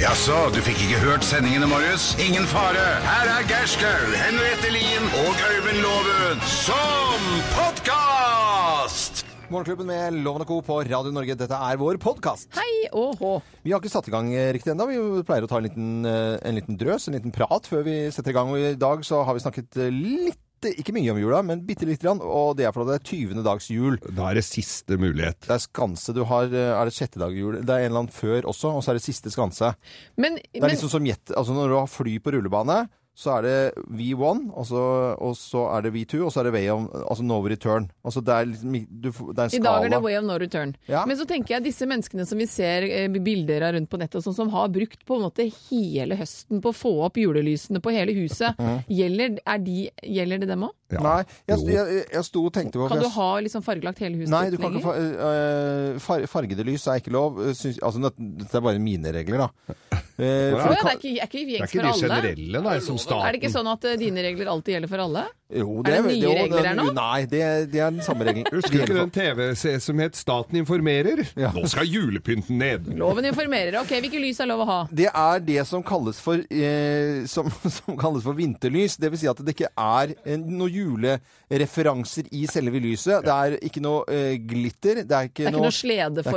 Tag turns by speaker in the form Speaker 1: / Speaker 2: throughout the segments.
Speaker 1: Jaså, du fikk ikke hørt sendingene, Marius? Ingen fare. Her er Gerskaug, Henriette Lien og Øyvind Loven som podkast!
Speaker 2: Morgenklubben med Loven og Co. på Radio Norge. Dette er vår podkast.
Speaker 3: Hei og hå.
Speaker 2: Vi har ikke satt i gang eh, riktig ennå. Vi pleier å ta en liten, eh, en liten drøs, en liten prat, før vi setter i gang. Og I dag så har vi snakket eh, litt ikke mye om jula, men bitte lite grann. Og det er fordi det er 20. dags jul.
Speaker 4: Da er det siste mulighet.
Speaker 2: Det er skanse du har eh, Er det sjette dag jul? Det er en eller annen før også, og så er det siste skanse. Det
Speaker 3: Men,
Speaker 2: er
Speaker 3: men
Speaker 2: liksom som jet, altså Når du har fly på rullebane, så er det V1, og så, og så er det V2, og så er det way on, altså no return. Altså det er, liksom, du, får- det er en
Speaker 3: i
Speaker 2: skala.
Speaker 3: dag er det way of no return.
Speaker 2: Ja.
Speaker 3: Men så tenker jeg disse menneskene som vi ser eh, bilder av rundt på nettet, og sånn, som har brukt på en måte hele høsten på å få opp julelysene på hele huset,
Speaker 2: Mhm.
Speaker 3: gjelder, er de, gjelder det dem òg?
Speaker 4: Ja.
Speaker 2: Nei, jeg,
Speaker 4: Jo.
Speaker 2: jeg, jeg sto og tenkte på
Speaker 3: Kan
Speaker 2: for
Speaker 3: du
Speaker 2: jeg-
Speaker 3: ha liksom fargelagt hele huset
Speaker 2: Nei,
Speaker 3: ditt
Speaker 2: du kan ikke
Speaker 3: lenger?
Speaker 2: fa øh, far, fargede lys er ikke lov. Øh, Syns, altså, dette- dette er bare mine regler, da. Eh, for
Speaker 3: Å ja,
Speaker 2: du kan,
Speaker 3: det er ikke, er ikke
Speaker 4: Det er
Speaker 3: gjengs
Speaker 4: ikke
Speaker 3: for
Speaker 4: de
Speaker 3: alle?
Speaker 4: generelle, nei, som staten.
Speaker 3: Er det ikke sånn at eh, dine regler alltid gjelder for alle?
Speaker 2: jo,
Speaker 3: det
Speaker 2: jo,
Speaker 3: nye
Speaker 2: det
Speaker 3: regler her nå?
Speaker 2: Nei, det, det er den samme regelen.
Speaker 4: Husker du ikke den TV-serien som het Staten informerer?
Speaker 2: Ja.
Speaker 4: Nå skal julepynten ned!
Speaker 3: Loven informerer. Ok, hvilke lys er lov å ha?
Speaker 2: Det er det som kalles for, eh, som, som kalles for vinterlys. Det vil si at det ikke er eh, noen julereferanser i selve lyset. Det er ikke noe eh, glitter. Det er ikke,
Speaker 3: Det er ikke noe sledeform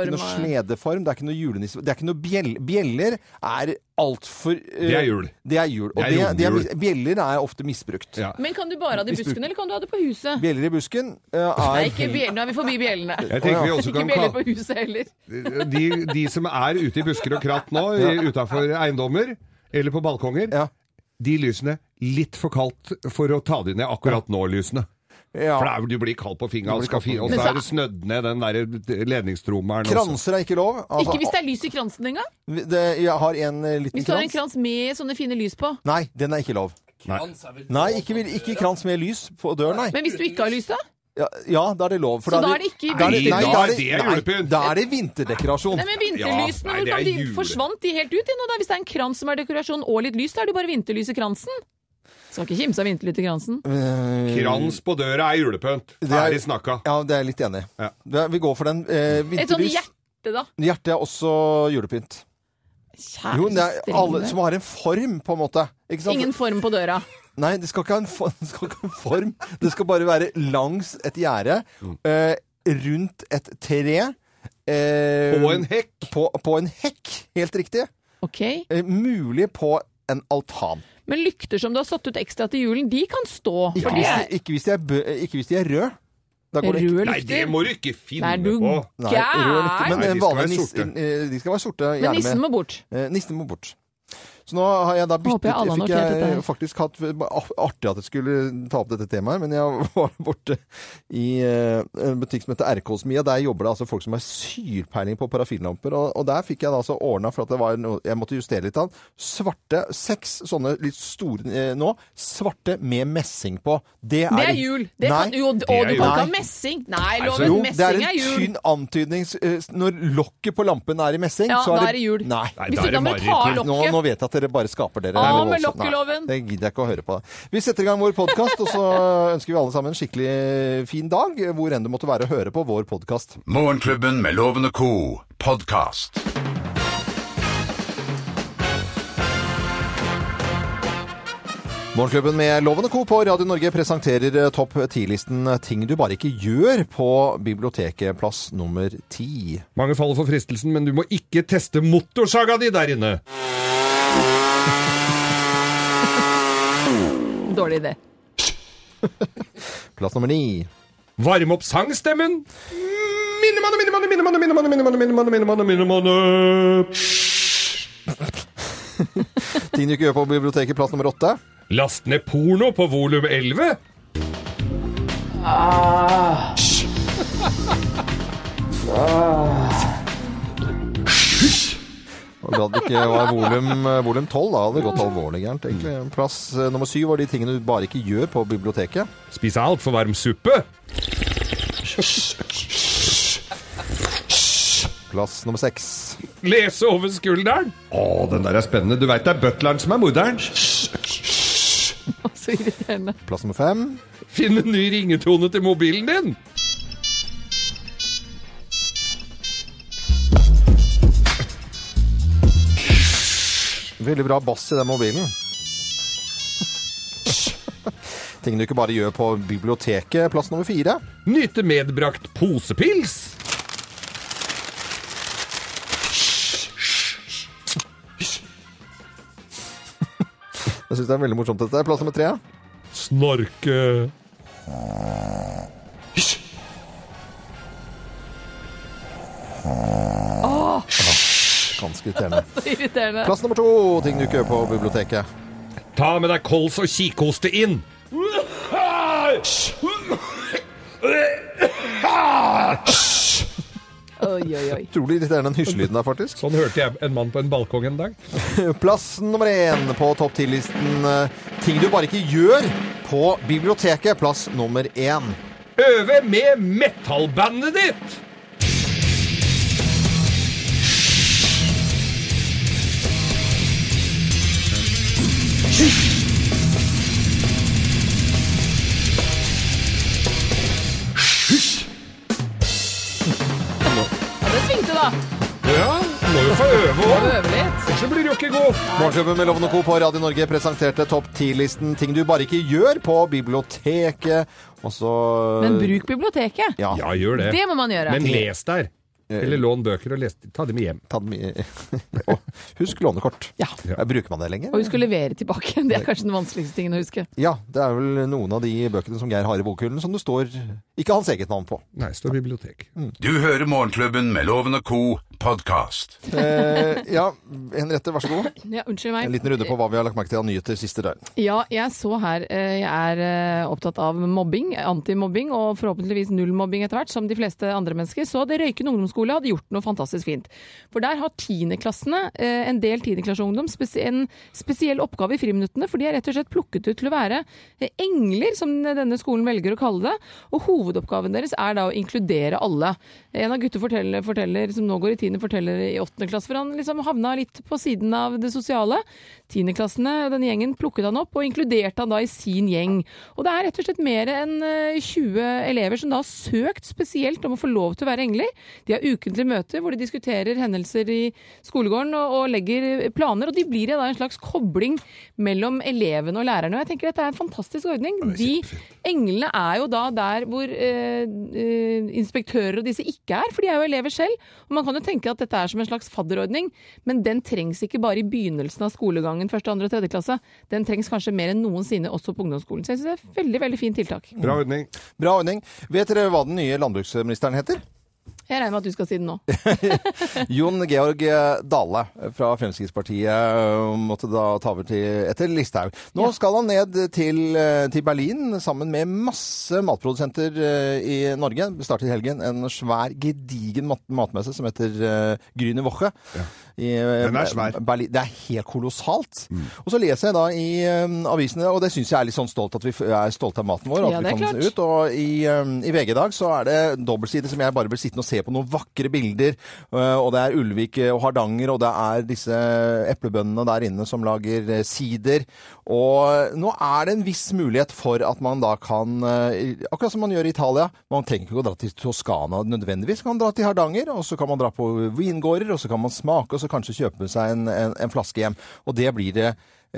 Speaker 2: Det er ikke noe
Speaker 3: av-
Speaker 2: sledeform. Det er ikke noe julenisse. Det er ikke noe bjell, bjeller. er altfor eh,
Speaker 4: Det er jul.
Speaker 2: Det er jul. Og
Speaker 4: Det er
Speaker 2: det det er,
Speaker 4: romjul.
Speaker 2: bjeller er ofte misbrukt.
Speaker 4: Ja.
Speaker 3: Men kan du bare ha det i busken, eller kan du ha det på huset?
Speaker 2: Bjeller i busken eh, er
Speaker 3: Nei, ikke bjellene. Nå er vi forbi bjellene.
Speaker 4: Jeg tenker vi også
Speaker 3: Ikke
Speaker 4: kan
Speaker 3: bjeller
Speaker 4: kalle
Speaker 3: på huset heller.
Speaker 4: de, de som er ute i busker og kratt nå, utafor eiendommer eller på balkonger,
Speaker 2: Ja.
Speaker 4: de lysene litt for kaldt for å ta de ned akkurat nå, lysene.
Speaker 2: Ja.
Speaker 4: For det er, du blir kald på fingra, og,
Speaker 2: blir
Speaker 4: skal
Speaker 2: kald på
Speaker 4: fi- og
Speaker 3: fingrene.
Speaker 4: så er det snødd ned den der ledningstrommelen. også.
Speaker 2: Kranser er ikke lov. Altså,
Speaker 3: Ikke hvis det er lys i kransen engang.
Speaker 2: det, jeg har en eh, liten
Speaker 3: Hvis du har en
Speaker 2: krans.
Speaker 3: krans med sånne fine lys på.
Speaker 2: Nei, den er ikke lov. Nei, ikke, vil- ikke krans med lys på døren, nei.
Speaker 3: Men hvis du ikke har lys, da?
Speaker 2: Ja, ja, da er det lov. for
Speaker 3: Så da
Speaker 2: du-
Speaker 3: er det ikke
Speaker 4: vinterlys.
Speaker 2: nei,
Speaker 4: Da er det julepynt.
Speaker 2: nei, Da er det vinterdekorasjon.
Speaker 3: Nei, men Vinterlysene,
Speaker 4: Ja, nei,
Speaker 3: hvor
Speaker 4: det
Speaker 3: kan
Speaker 4: er
Speaker 3: de
Speaker 4: jul.
Speaker 3: forsvant de helt ut i nå, da? Hvis det er en krans som er dekorasjon og litt lys, da er det jo bare vinterlys i kransen. Skal ikke kimse av vinterlys i kransen.
Speaker 4: Krans på døra er julepynt.
Speaker 2: er-
Speaker 4: Ferdig snakka.
Speaker 2: Ja, det er jeg litt enig i.
Speaker 4: Ja.
Speaker 2: Det er- Vi går for den. Eh,
Speaker 3: Et sånn sånt
Speaker 2: vinterlys.
Speaker 3: hjerte, da.
Speaker 2: Hjertet er også julepynt.
Speaker 3: Kjære
Speaker 2: Jo, men det er alle
Speaker 3: strenge.
Speaker 2: som har en form, på en måte. Ikke sant?
Speaker 3: Ingen form på døra.
Speaker 2: Nei, det skal ikke ha en, for, det skal ikke ha en form. Det skal bare være langs et gjerde,
Speaker 4: Mm.
Speaker 2: eh, rundt et tre. eh,
Speaker 4: På en hekk.
Speaker 2: På, på en hekk, helt riktig.
Speaker 3: Ok.
Speaker 2: Eh, mulig på en altan.
Speaker 3: Men lykter som du har satt ut ekstra til julen, de kan stå.
Speaker 2: Ikke,
Speaker 3: For de
Speaker 2: hvis,
Speaker 3: er
Speaker 2: de, ikke, hvis, de er bø, eh, ikke hvis de er røde. Da går det ikke.
Speaker 3: røde
Speaker 4: Nei, det
Speaker 3: lykter.
Speaker 4: må du ikke finne
Speaker 3: Er du
Speaker 4: på!
Speaker 2: Nei, rød lykte,
Speaker 3: gæren?
Speaker 2: men
Speaker 4: Nei, de
Speaker 2: eh,
Speaker 4: skal
Speaker 2: vanlige
Speaker 4: være
Speaker 2: nis-
Speaker 4: sorte.
Speaker 2: eh, de skal være sorte.
Speaker 3: Men
Speaker 2: gjerne
Speaker 3: nissen
Speaker 2: med-
Speaker 3: må bort.
Speaker 2: eh, nissen må bort. Så nå har jeg da byttet
Speaker 3: Håper jeg alle har
Speaker 2: fikk
Speaker 3: notert dette
Speaker 2: jeg eh,
Speaker 3: her.
Speaker 2: faktisk hatt Artig at jeg skulle ta opp dette temaet, men jeg var borte i eh, en butikk som heter RK Smia. Der jobber det altså folk som har sylpeiling på parafinlamper. Og, og der fikk jeg da altså ordna for at det var noe Jeg måtte justere litt av den. Svarte, seks sånne litt store eh, nå. Svarte med messing på. Det er,
Speaker 3: Det er jul! Det
Speaker 2: Nei.
Speaker 3: kan, jo, og du
Speaker 4: er
Speaker 3: kan
Speaker 4: jul.
Speaker 3: ikke ha
Speaker 2: Nei.
Speaker 3: messing! Nei,
Speaker 4: så-
Speaker 3: loven,
Speaker 2: Jo, det er
Speaker 3: messing er
Speaker 2: en
Speaker 3: jul!
Speaker 2: tynn antydning. s- eh, Når lokket på lampen er i messing,
Speaker 3: Ja,
Speaker 2: så er
Speaker 3: da
Speaker 2: det
Speaker 3: er det jul.
Speaker 2: Nei.
Speaker 4: Nei,
Speaker 3: Hvis
Speaker 4: da
Speaker 3: du
Speaker 4: er
Speaker 3: kan
Speaker 4: det
Speaker 3: bare ta
Speaker 4: mareritt.
Speaker 2: Nå,
Speaker 3: lokket
Speaker 2: nå vet jeg at dere bare skaper dere.
Speaker 3: Av med
Speaker 2: voldsomt. Nei,
Speaker 3: lokkeloven.
Speaker 2: Det gidder jeg ikke å høre på. Vi setter i gang vår podkast, og så ønsker vi alle sammen en skikkelig eh, fin dag, hvor enn det måtte være å høre på vår podkast.
Speaker 1: Morgenklubben med Loven og Co. podkast.
Speaker 2: Morgenklubben med Loven og Co. på Radio Norge presenterer eh, topp 10-listen Ting du bare ikke gjør på biblioteket plass nummer ti.
Speaker 4: Mange faller for fristelsen, men du må ikke teste motorsaga di der inne!
Speaker 3: Dårlig idé.
Speaker 2: Plass nummer ni.
Speaker 4: Varme opp sangstemmen! Minnemanne, minnemanne, minnemanne, minnemanne, minnemanne, minnemanne, minnemanne, minnemanne.
Speaker 2: Ting du ikke gjør på biblioteket plass nummer åtte.
Speaker 4: Last ned porno på volum 11!
Speaker 2: Og da det ikke var volum, eh, volum 12, da hadde det gått alvorlig gærent. egentlig. Plass eh, nummer syv var de tingene du bare ikke gjør på biblioteket.
Speaker 4: Spise altfor varm suppe!
Speaker 2: Plass nummer seks.
Speaker 4: Lese over skulderen! Å, den der er spennende. Du veit det er butleren som er morderen.
Speaker 3: Så irriterende.
Speaker 2: Plass nummer fem.
Speaker 4: Finne ny ringetone til mobilen din!
Speaker 2: Veldig bra bass i den mobilen. Ting du ikke bare gjør på biblioteket, plass nummer fire.
Speaker 4: Nyte medbrakt posepils.
Speaker 2: Jeg syns det er veldig morsomt dette. Plass nummer tre.
Speaker 4: Snorke.
Speaker 2: Ganske irriterende.
Speaker 3: Så irriterende.
Speaker 2: Plass nummer to. Ting du ikke gjør på biblioteket.
Speaker 4: Ta med deg kols og kikhoste inn.
Speaker 3: Oi, oi, oi.
Speaker 2: Utrolig irriterende den hysjelyden der, faktisk.
Speaker 4: Sånn hørte jeg en mann på en balkong en dag.
Speaker 2: Plass nummer én på topp ti-listen. eh, Ting du bare ikke gjør på biblioteket. Plass nummer én.
Speaker 4: Øve med metallbandet ditt!
Speaker 3: Ja, det svingte, da.
Speaker 4: Ja, du må jo få øve
Speaker 3: Må
Speaker 4: òg.
Speaker 3: øve litt.
Speaker 4: Ellers så blir du jo ikke god.
Speaker 2: Morgenklubben med Loven og Co. på Radio Norge presenterte topp ti-listen Ting du bare ikke gjør på biblioteket. Og så
Speaker 3: Men bruk biblioteket.
Speaker 2: Øh, Ja,
Speaker 4: Ja, Eh. gjør det.
Speaker 3: Det må man gjøre.
Speaker 4: Men les der. Eller lån bøker og les. Ta dem med hjem.
Speaker 2: ta den i Og Husk lånekort.
Speaker 3: Ja.
Speaker 2: Ja, Bruker man det lenger?
Speaker 3: Og husk å levere tilbake. Det er kanskje den vanskeligste tingen å huske.
Speaker 2: Ja, det er vel noen av de bøkene som Geir har i bokhyllen som det står ikke hans eget navn på.
Speaker 4: Nei, står bibliotek.
Speaker 1: Du hører Morgenklubben med Loven og Co. podcast.
Speaker 2: Eh, ja, Henriette, vær så god.
Speaker 3: Ja, unnskyld meg.
Speaker 2: En liten runde på hva vi har lagt merke til av nyheter siste døgn.
Speaker 3: Ja, jeg så her. eh, Jeg er eh, opptatt av mobbing, antimobbing og forhåpentligvis nullmobbing etter hvert, som de fleste andre mennesker. Så det Røyken ungdomsskole hadde gjort noe fantastisk fint. For der har tiendeklassene, eh, en del tiendeklasseungdom, spes- en spesiell oppgave i friminuttene. For de er rett og slett plukket ut til å være eh, engler, som denne skolen velger å kalle det. Og hovedoppgaven deres er da å inkludere alle. En av gutta forteller, forteller som nå går i tiende, forteller i åttende klasse, for han liksom havna litt på siden av det sosiale. Tiendeklassene, den gjengen, plukket han opp og inkluderte han da i sin gjeng. Og det er rett og slett mer enn eh, 20 elever som da har søkt spesielt om å få lov til å være engler. De har ukentlige møter hvor de diskuterer hendelser i skolegården og, og legger planer, og de blir da en slags kobling mellom elevene og lærerne. Og jeg tenker dette er en fantastisk ordning. De englene er jo da der hvor eh, eh, inspektører og disse ikke er, for de er jo elever selv. Og man kan jo tenke at dette er som en slags fadderordning, men den trengs ikke bare i begynnelsen av skolegangen, første, andre og tredje klasse. Den trengs kanskje mer enn noensinne også på ungdomsskolen. Så jeg synes det er et veldig, veldig fint tiltak.
Speaker 4: Bra ordning.
Speaker 2: Bra ordning. Vet dere hva den nye landbruksministeren heter?
Speaker 3: Jeg regner med at du skal si det nå.
Speaker 2: Jon Georg Dale fra Fremskrittspartiet måtte da ta over til, etter Listhaug. Nå skal han ned til, til Berlin sammen med masse matprodusenter eh, i Norge. Det starter i helgen en svær, gedigen mat matmesse som heter eh, Grüne Woche. Den
Speaker 4: er svær.
Speaker 2: Berlin. Det er helt kolossalt.
Speaker 3: Mm.
Speaker 2: Og så leser jeg da i eh, avisene, og det syns jeg er litt sånn stolt, at vi f- er stolte av maten vår. og
Speaker 3: Ja,
Speaker 2: at
Speaker 3: det
Speaker 2: vi
Speaker 3: er
Speaker 2: kan
Speaker 3: klart.
Speaker 2: ut ut, og i, eh, i VG i dag så er det dobbeltside som jeg bare blir sittende og se på noen vakre bilder. eh, og det er Ulvik uh, og Hardanger, og det er disse eplebøndene der inne som lager eh, sider. Og uh, nå er det en viss mulighet for at man da kan, eh, akkurat som man gjør i Italia, man trenger ikke å dra til Toskana nødvendigvis, man kan dra til Hardanger, og så kan man dra på vingårder, og så kan man smake, og så kanskje kjøpe seg en, en, en flaske hjem. Og det blir det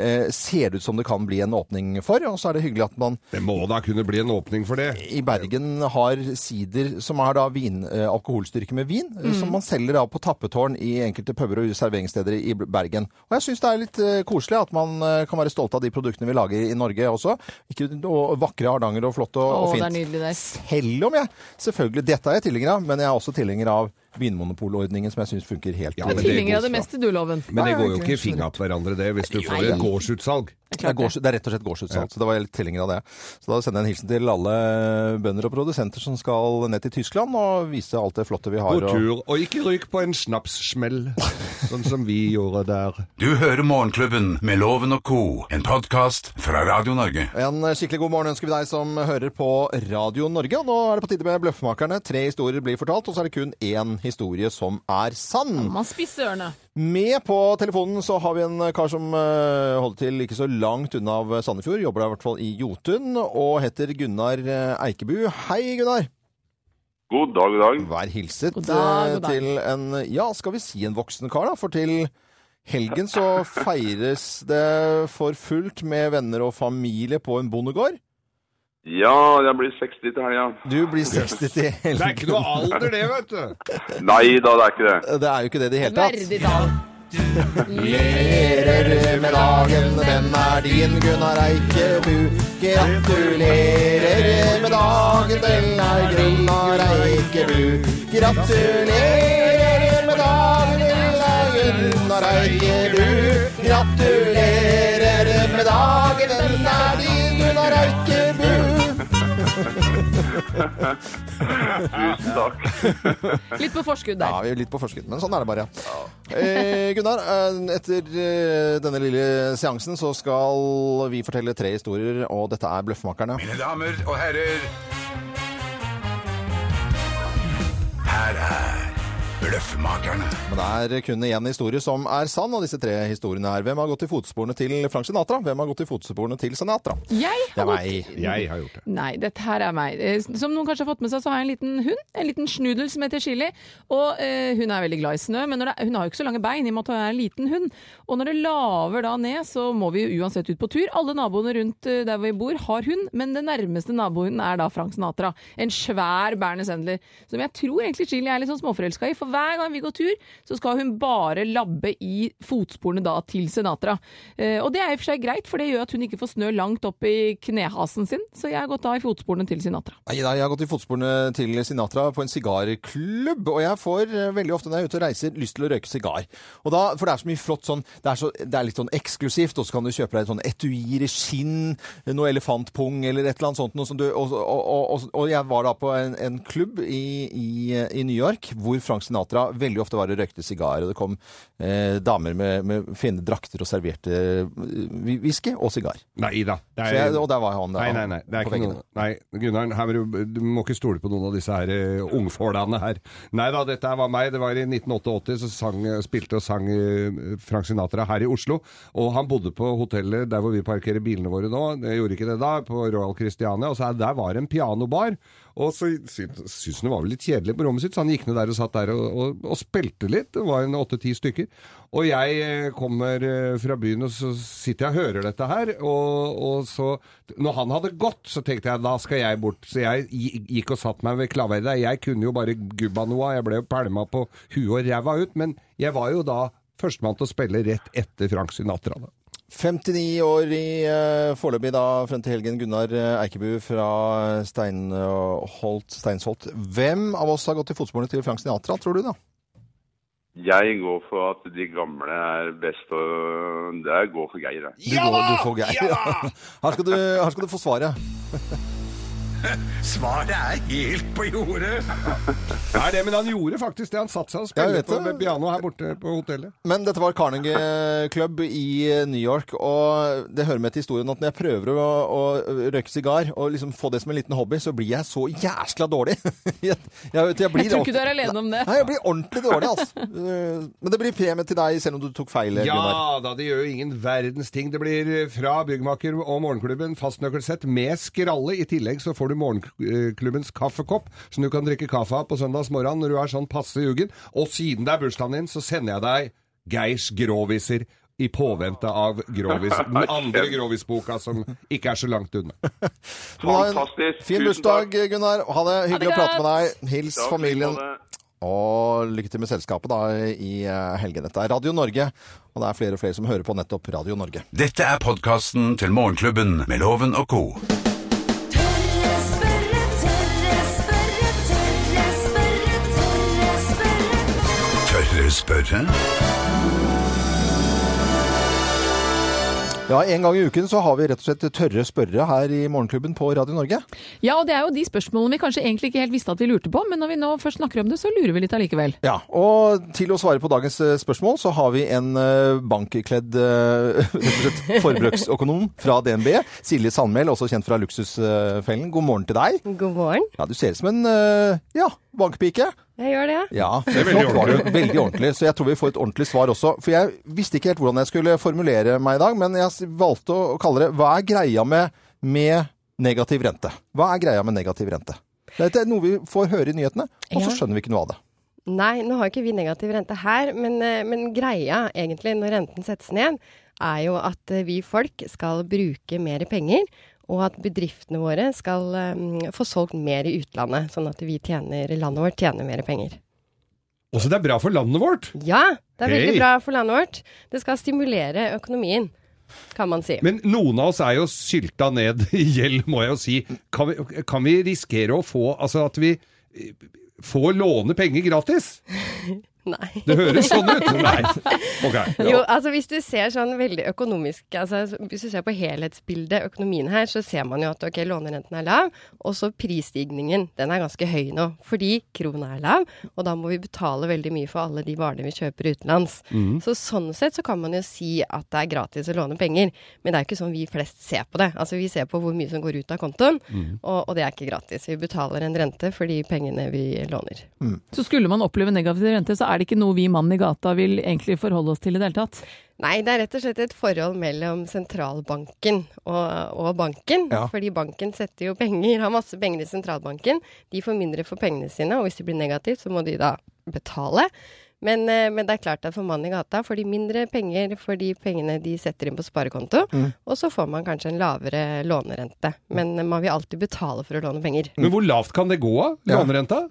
Speaker 2: eh, ser det ut som det kan bli en åpning for, og så er det hyggelig at man
Speaker 4: Det må da kunne bli en åpning for det.
Speaker 2: i Bergen har sider som har da vin, eh, alkoholstyrke med vin, eh,
Speaker 3: Mm.
Speaker 2: som man selger da på tappetårn i enkelte puber og serveringssteder i B- Bergen. Og jeg syns det er litt eh, koselig at man eh, kan være stolt av de produktene vi lager i Norge også. Ikke og vakre Hardanger og flott og,
Speaker 3: Å,
Speaker 2: og
Speaker 3: det er
Speaker 2: fint.
Speaker 3: nydelig der.
Speaker 2: Selv om jeg selvfølgelig Dette er jeg tilhenger av, men jeg er også tilhenger av vinmonopolordningen, som jeg syns funker helt
Speaker 4: Ja,
Speaker 2: greit.
Speaker 4: men det er
Speaker 3: Tilhenger av
Speaker 4: god
Speaker 3: det meste, du, Loven.
Speaker 4: Men det
Speaker 2: Nei,
Speaker 4: går jo
Speaker 2: ok,
Speaker 4: ikke i fingra på hverandre, det, hvis du får et gårdsutsalg.
Speaker 2: Det er, gårds, det er rett og slett gårdsutsalg, så det var jeg litt tilhenger av det. Så da sender jeg en hilsen til alle bønder og produsenter som skal ned til Tyskland og vise alt det flotte vi har.
Speaker 4: God
Speaker 2: og-
Speaker 4: tur, og ikke ryk på en snapssmell, sånn som vi gjorde der.
Speaker 1: Du hører Morgenklubben med Loven og Co., en podkast fra Radio Norge.
Speaker 2: En skikkelig god morgen ønsker vi deg som hører på Radio Norge. Og nå er det på tide med Bløffmakerne. Tre historier blir fortalt, og så er det kun én historie som er sann.
Speaker 3: Man spisser ørene.
Speaker 2: Med på telefonen så har vi en kar som eh, holder til ikke så langt unna av Sandefjord. Jobber der i hvert fall i Jotun, og heter Gunnar eh, Eikebu. Hei, Gunnar.
Speaker 5: God dag, god dag.
Speaker 2: Vær hilset
Speaker 3: God dag,
Speaker 2: eh,
Speaker 3: god dag.
Speaker 2: til en, ja, skal vi si en voksen kar, da? For til Helgen så feires det for fullt med venner og familie på en bondegård.
Speaker 5: Ja, jeg blir 60 til helga.
Speaker 2: Du blir 60 til
Speaker 4: Det er ikke
Speaker 2: helgen.
Speaker 4: noe alder, det, vet du.
Speaker 5: Nei da, det er ikke det.
Speaker 2: Det er jo ikke det i det hele tatt.
Speaker 3: Verdig dag.
Speaker 2: Gratulerer med dagen, den er din, Gunnar Eikebu. Gratulerer med dagen, den er Gunnar Eikebu. Gratulerer med dagen, den er Gunnar Eikebu. Gratulerer med dagen, den er din, Gunnar Eikebu.
Speaker 5: Tusen takk.
Speaker 3: Litt på forskudd
Speaker 2: Ja,
Speaker 3: der.
Speaker 2: vi er litt på forskudd, men sånn er det bare. Eh, Gunnar, eh, etter eh, denne lille seansen så skal vi fortelle tre historier, og dette er Bløffmakerne.
Speaker 1: Mine damer og herrer Her er Bløffmakerne
Speaker 2: Men det er kun én historie som er sann, og disse tre historiene er Hvem har gått i fotsporene til Frank Sinatra? Hvem har gått i fotsporene til Sinatra?
Speaker 3: Jeg
Speaker 2: Det er
Speaker 3: har gått
Speaker 2: meg.
Speaker 4: Jeg har gjort det.
Speaker 3: Nei, dette her er meg. Eh, Som noen kanskje har fått med seg, så har jeg en liten hund. En liten snudel som heter Chili. Og eh, hun er veldig glad i snø, men når det, er- hun har jo ikke så lange bein i og med at hun er en liten hund. Og når det laver da ned, så må vi jo uansett ut på tur. Alle naboene rundt eh, der vi bor har hund, men den nærmeste naboen er da Frank Sinatra. En svær Bernes Endler, som jeg tror egentlig Chili er litt sånn småforelska i. For hver gang vi går tur, så skal hun bare labbe i fotsporene da til Sinatra. Eh, og det er i og for seg greit, for det gjør at hun ikke får snø langt opp i knehasen sin, så jeg har gått da i fotsporene til Sinatra.
Speaker 2: Nei, da, Jeg har gått i fotsporene til Sinatra på en sigarklubb, og jeg får eh, veldig ofte når jeg er ute og reiser, lyst til å røyke sigar. Og da, For det er så mye flott sånn Det er, så, det er litt sånn eksklusivt, og så kan du kjøpe deg sånn etuier i skinn, noe elefantpung eller et eller annet sånt. Noe som du, og, og, og, og, og jeg var da på en, en klubb i, i, i New York hvor Frank Sinatra veldig ofte var og røykte sigar, og det kom eh, damer med, med fine drakter og serverte eh, whisky og sigar.
Speaker 4: Nei da. Det
Speaker 2: Så
Speaker 4: er-
Speaker 2: jeg, og der var han.
Speaker 4: Nei,
Speaker 2: han
Speaker 4: nei, nei. Det er
Speaker 2: på
Speaker 4: ikke
Speaker 2: veggene.
Speaker 4: noe. Nei, Gunnar, her, må du- du må ikke stole på noen av disse her eh, ungfålene her. Nei da, dette her var meg. Det var i 1988 så sang, spilte og sang eh, Frank Sinatra her i Oslo. Og han bodde på hotellet der hvor vi parkerer bilene våre nå. Jeg gjorde ikke det da, på Royal Christiania. Og så er- der var en pianobar. Og så syntes syntes han det var vel litt kjedelig på rommet sitt, så han gikk ned der og satt der og, og, og spilte litt. Det var en åtte-ti stykker. Og jeg eh, kommer eh, fra byen, og så sitter jeg og hører dette her. Og, og så Når han hadde gått, så tenkte jeg da skal jeg bort. Så jeg gi- gikk og satte meg ved klaveret der. Jeg kunne jo bare gubba noe av. Jeg ble jo pælma på huet og ræva ut. Men jeg var jo da førstemann til å spille rett etter Frank Sinatra. Da.
Speaker 2: 59 år i uh, foreløpig da, frem til helgen, Gunnar eh, Eikebu fra Steinholt, Steinsholt. Hvem av oss har gått i fotsporene til Frank Sinatra, tror du da?
Speaker 5: Jeg går for at de gamle er best, og det er gå for Geir. jeg.
Speaker 2: Du går, du får Geir. Her, skal du, her skal du få svaret.
Speaker 1: Svaret er helt på jordet
Speaker 4: Nei, det, men han gjorde faktisk det. Han satte seg og
Speaker 2: Ja, jeg
Speaker 4: spilte
Speaker 2: vet
Speaker 4: på
Speaker 2: det.
Speaker 4: piano her borte på hotellet.
Speaker 2: Men dette var Carnegie eh, Club i New York, og det hører med til historien at når jeg prøver å, å røyke sigar og liksom få det som en liten hobby, så blir jeg så jæskla dårlig. jeg, jeg, jeg, blir
Speaker 3: Jeg tror ikke
Speaker 2: ordentlig-
Speaker 3: du er alene om det.
Speaker 2: Nei, jeg blir ordentlig dårlig, altså. Eh, Men det blir premie til deg, selv om du tok feil,
Speaker 4: Eh,
Speaker 2: Gunnar.
Speaker 4: Ja da, det gjør jo ingen verdens ting. Det blir eh, fra byggmaker og morgenklubben fastnøkkelsett med skralle. I tillegg så får du morgenklubbens kaffekopp, som du kan drikke kaffe av på søndagsmorgenen når du er sånn passe ugen. Og siden det er bursdagen din, så sender jeg deg Geirs groviser. I påvente av grovis, den andre grovisboka som ikke er så langt unna.
Speaker 2: Du må ha en
Speaker 5: Fantastisk.
Speaker 2: Fin
Speaker 5: Tusen
Speaker 2: bursdag,
Speaker 5: takk.
Speaker 2: Gunnar. Ha det hyggelig å
Speaker 3: Ha det
Speaker 2: prate med deg. Hils
Speaker 5: Takk,
Speaker 2: familien.
Speaker 5: Lindholm.
Speaker 2: Og lykke til med selskapet da i eh, helgen. Dette er Radio Norge, og det er flere og flere som hører på nettopp Radio Norge.
Speaker 1: Dette er podcasten til Morgenklubben med Loven og Co
Speaker 6: Tørre spørre, tørre spørre, tørre spørre, tørre spørre.
Speaker 1: Tør du spørre?
Speaker 2: Ja, En gang i uken så har vi rett og slett tørre spørre her i Morgenklubben på Radio Norge.
Speaker 3: Ja, og det er jo de spørsmålene vi kanskje egentlig ikke helt visste at vi lurte på, men når vi nå først snakker om det, så lurer vi litt allikevel.
Speaker 2: Ja, Og til å svare på dagens eh, spørsmål, så har vi en eh, bankkledd eh, rett og slett forbruksøkonom fra DNB. Silje Sandmæl, også kjent fra Luksusfellen. God morgen til deg.
Speaker 7: God morgen.
Speaker 2: Ja, Du ser ut som en eh, ja, bankpike.
Speaker 7: Jeg gjør det, ja.
Speaker 2: Ja, det
Speaker 4: veldig
Speaker 2: var det jo veldig ordentlig, så jeg tror vi får et ordentlig svar også. For jeg visste ikke helt hvordan jeg skulle formulere meg i dag, men jeg s- valgte å kalle det Hva er greia med, med negativ rente? Hva er greia med negativ rente? Det er noe vi får høre i nyhetene, og så
Speaker 3: Ja.
Speaker 2: skjønner vi ikke noe av det.
Speaker 7: Nei, nå har jo ikke vi negativ rente her, men, eh, men greia egentlig når renten settes ned, er jo at eh, vi folk skal bruke mer penger, og at bedriftene våre skal eh, få solgt mer i utlandet, sånn at vi tjener, landet vårt tjener mer penger.
Speaker 4: Også det er bra for landet vårt.
Speaker 7: Ja, det er
Speaker 4: Hei!
Speaker 7: veldig bra for landet vårt. Det skal stimulere økonomien, kan man si.
Speaker 4: Men noen av oss er jo sylta ned i gjeld, må jeg jo si. Kan vi, kan vi risikere å få Altså at vi eh, får låne penger gratis?
Speaker 7: Nei.
Speaker 4: Det høres sånn ut. Nei. Ok.
Speaker 7: Jo, altså hvis du ser sånn veldig økonomisk altså Hvis du ser på helhetsbildet, økonomien her, så ser man jo at ok, lånerenten er lav, og så prisstigningen. Den er ganske høy nå, fordi krona er lav, og da må vi betale veldig mye for alle de varene vi kjøper utenlands. Så sånn sett så kan man jo si at det er gratis å låne penger, men det er jo ikke sånn vi flest ser på det. Altså vi ser på hvor mye som går ut av kontoen, og, og det er ikke gratis. Vi betaler en rente for de pengene vi låner.
Speaker 3: Så skulle man oppleve negativ rente, så er det ikke noe vi mannen i gata vil egentlig forholde oss til i det hele tatt.
Speaker 7: Nei, det er rett og slett et forhold mellom sentralbanken og, og banken.
Speaker 2: Ja.
Speaker 7: Fordi banken setter jo penger, har masse penger i sentralbanken. De får mindre for pengene sine, og hvis det blir negativt, så må de da betale. Men, eh, men det er klart at for mannen i gata får de mindre penger for de pengene de setter inn på sparekonto, og så får man kanskje en lavere lånerente. Men eh, man vil alltid betale for å låne penger.
Speaker 4: Men hvor lavt kan det gå av? Lånerenta?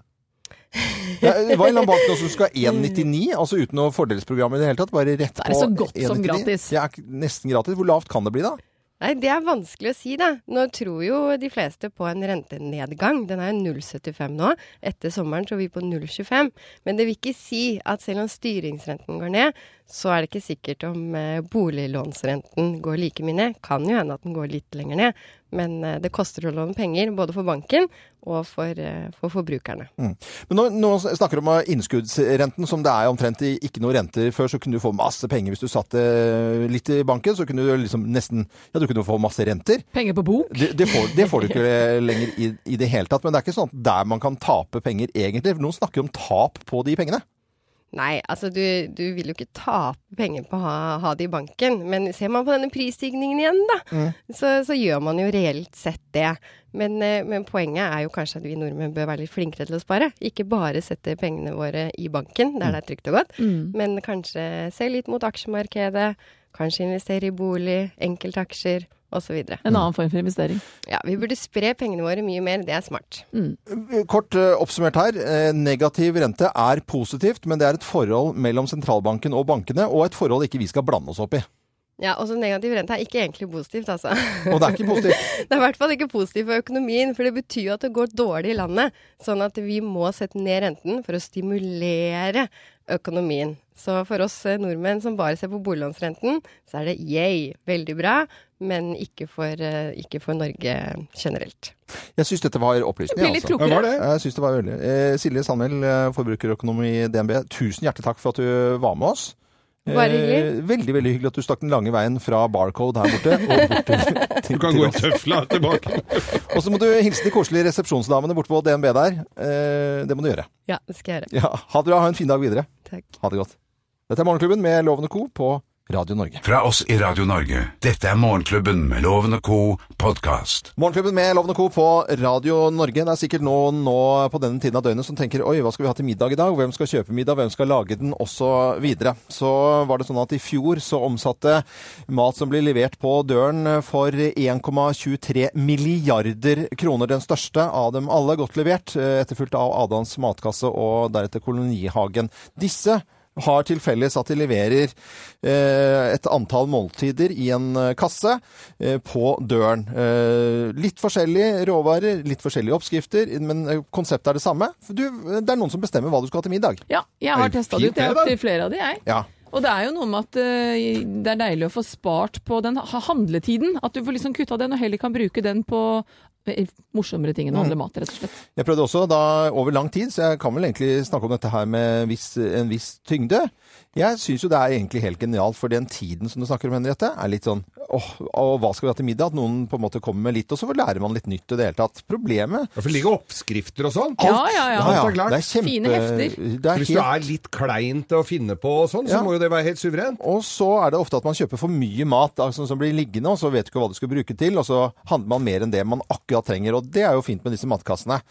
Speaker 2: Ja, det var en eller annen bank nå som skulle ha 1,99, altså uten noe fordelsprogram i det hele tatt. Bare rett på
Speaker 3: er så godt som
Speaker 2: 1,99.
Speaker 3: gratis.
Speaker 2: Det er nesten gratis. Hvor lavt kan det bli da?
Speaker 7: Nei, det er vanskelig å si, da. Nå tror jo de fleste på en rentenedgang. Den er jo 0,75 nå. Etter sommeren så er vi på 0,25. Men det vil ikke si at selv om styringsrenten går ned, så er det ikke sikkert om eh, boliglånsrenten går like mye ned. Kan jo hende at den går litt lenger ned. Men eh, det koster å låne penger, både for banken og for, eh, for forbrukerne.
Speaker 2: Mm. Men nå, nå snakker du om eh, innskuddsrenten, som det er omtrent i- ikke noe renter før, så kunne du få masse penger hvis du satt eh, litt i banken, så kunne du liksom nesten, ja du kunne få masse renter.
Speaker 3: Penger på bok.
Speaker 2: Det, det, får, det får du ikke eh, lenger i, i det hele tatt, men det er ikke sånn at der man kan tape penger egentlig. for Noen snakker om tap på de pengene.
Speaker 7: Nei, altså du, du vil jo ikke tape penger på å ha, ha det i banken, men ser man på denne prisstigningen igjen, da, så, så gjør man jo reelt sett det. Men, eh, men poenget er jo kanskje at vi nordmenn bør være litt flinkere til å spare. Ikke bare sette pengene våre i banken, der det er trygt og godt, men kanskje se litt mot aksjemarkedet, kanskje investere i bolig, enkeltaksjer osv.
Speaker 3: En annen form for investering.
Speaker 7: Ja, vi burde spre pengene våre mye mer, det er smart.
Speaker 2: Kort eh, oppsummert her. eh, Negativ rente er positivt, men det er et forhold mellom sentralbanken og bankene, og et forhold ikke vi skal blande oss opp i.
Speaker 7: Ja, også negativ rente er ikke egentlig positivt, altså.
Speaker 2: Og det er ikke positivt.
Speaker 7: Det er i hvert fall ikke positivt for økonomien, for det betyr jo at det går dårlig i landet. Sånn at vi må sette ned renten for å stimulere økonomien. Så for oss eh, nordmenn som bare ser på boliglånsrenten, så er det yay, veldig bra, men ikke for, eh, ikke for Norge generelt.
Speaker 2: Jeg syns dette var opplysende.
Speaker 3: Bli litt
Speaker 2: altså.
Speaker 4: Ja, var
Speaker 3: klokere.
Speaker 4: det?
Speaker 2: Jeg synes det var veldig. Eh, Silje Sandmæl, eh, forbrukerøkonom i DNB, tusen hjertelig takk for at du var med oss.
Speaker 7: Bare hyggelig.
Speaker 2: Eh, veldig veldig hyggelig at du stakk den lange veien fra Barcode her borte og bort til,
Speaker 4: Du
Speaker 2: til,
Speaker 4: kan
Speaker 2: til
Speaker 4: gå i
Speaker 2: oss.
Speaker 4: tøfla tilbake.
Speaker 2: Og så må du hilse de koselige resepsjonsdamene borte på DNB der. Eh, det må du gjøre.
Speaker 7: Ja, det skal jeg gjøre.
Speaker 2: Ja, ha det bra, ha en fin dag videre.
Speaker 7: Takk.
Speaker 2: Ha det godt. Dette er Morgenklubben med Loven og Co. på Radio Norge.
Speaker 1: Fra oss i Radio Norge. Dette er Morgenklubben med Loven og Co. podkast.
Speaker 2: Morgenklubben med Lovende Co. på Radio Norge. Det er sikkert noen nå på denne tiden av døgnet som tenker oi, hva skal vi ha til middag i dag? Hvem skal kjøpe middag? Hvem skal lage den? Og så videre. Så var det sånn at i fjor så omsatte mat som blir levert på døren for 1,23 milliarder kroner. Den største av dem alle godt levert, eh, etterfulgt av Adans matkasse og deretter Kolonihagen. Disse har til felles at de leverer eh, et antall måltider i en eh, kasse eh, på døren. Eh, litt forskjellige råvarer, litt forskjellige oppskrifter, men eh, konseptet er det samme. For du, det er noen som bestemmer hva du skal ha til middag.
Speaker 3: Ja, jeg har testa det
Speaker 4: fint
Speaker 3: ut. Jeg
Speaker 4: det,
Speaker 3: har
Speaker 4: da.
Speaker 3: hatt flere av de, jeg.
Speaker 2: Ja.
Speaker 3: Og det er jo noe med at eh, det er deilig å få spart på den ha- handletiden. At du får liksom kutta den, og heller kan bruke den på eh, morsommere ting enn å handle mat, rett og slett.
Speaker 2: Jeg prøvde også da over lang tid, så jeg kan vel egentlig snakke om dette her med en viss, en viss tyngde. Jeg syns jo det er egentlig helt genialt, for den tiden som du snakker om, Henriette, er litt sånn åh, og hva skal vi ha til middag? At noen på en måte kommer med litt, og så lærer man litt nytt i det hele tatt. Problemet
Speaker 4: For det ligger oppskrifter og sånn.
Speaker 3: Ja, ja, ja.
Speaker 4: Alt er klart.
Speaker 2: Det er kjempe...
Speaker 3: Fine hefter.
Speaker 2: Det er
Speaker 4: Hvis du
Speaker 2: helt...
Speaker 4: er litt klein til å finne på og sånn,
Speaker 2: Ja.
Speaker 4: så må jo det være helt suverent.
Speaker 2: Og så er det ofte sånn at man kjøper for mye mat altså, som blir liggende, og så vet du ikke hva du skal bruke til, og så handler man mer enn det man akkurat akkurat trenger. Og det er jo fint med disse matkassene.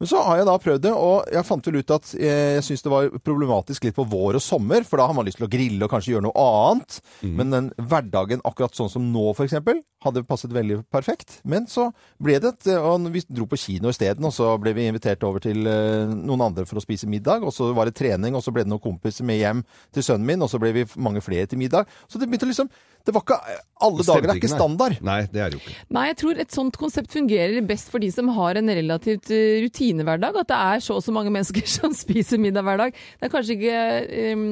Speaker 2: Men så har jeg da prøvd det, og jeg fant vel ut at eh, jeg syns det var problematisk litt på vår og sommer, for da har man lyst til å grille og kanskje gjøre noe annet.
Speaker 4: Mhm.
Speaker 2: Men den hverdagen akkurat sånn som nå, f.eks., hadde passet veldig perfekt. Men så ble det et eh, Og vi dro på kino isteden, og så ble vi invitert over til eh, noen andre for å spise middag, og så var det trening, og så ble det noen kompiser med hjem til sønnen min, og så ble vi mange flere til middag. Så det begynte liksom Det var ikke Alle dager er ikke
Speaker 4: Stemningen,
Speaker 2: standard.
Speaker 4: nei. Nei, det er det jo ikke.
Speaker 3: Nei, jeg tror et sånt konsept fungerer best for de som har en relativt eh, rutinehverdag. At det er så og så mange mennesker som spiser middag hver dag. Det er kanskje ikke em,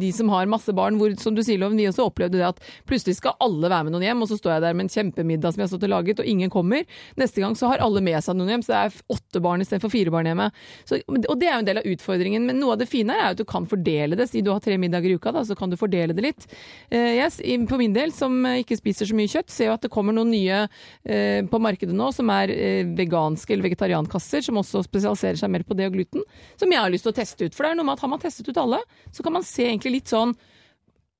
Speaker 3: de som har masse barn, hvor som du sier, Loven, vi også opplevde det at plutselig skal alle være med noen hjem, og så står jeg der med en kjempemiddag som jeg har stått og laget, og ingen kommer. Neste gang så har alle med seg noen hjem, så det er åtte barn istedenfor fire barn hjemme. Så, og det er jo en del av utfordringen, men noe av det fine her er jo at du kan fordele det. Si du har tre middager i uka, da, så kan du fordele det litt. Eh, jeg s- i- for min del, som eh, ikke spiser så mye kjøtt, ser jo at det kommer noen nye eh, på markedet nå, som er eh, veganske eller vegetariankasser, som også spesialiserer seg mer på det og gluten, som jeg har lyst til å teste ut. For det er noe med at har man testet ut alle, så kan man se egentlig litt sånn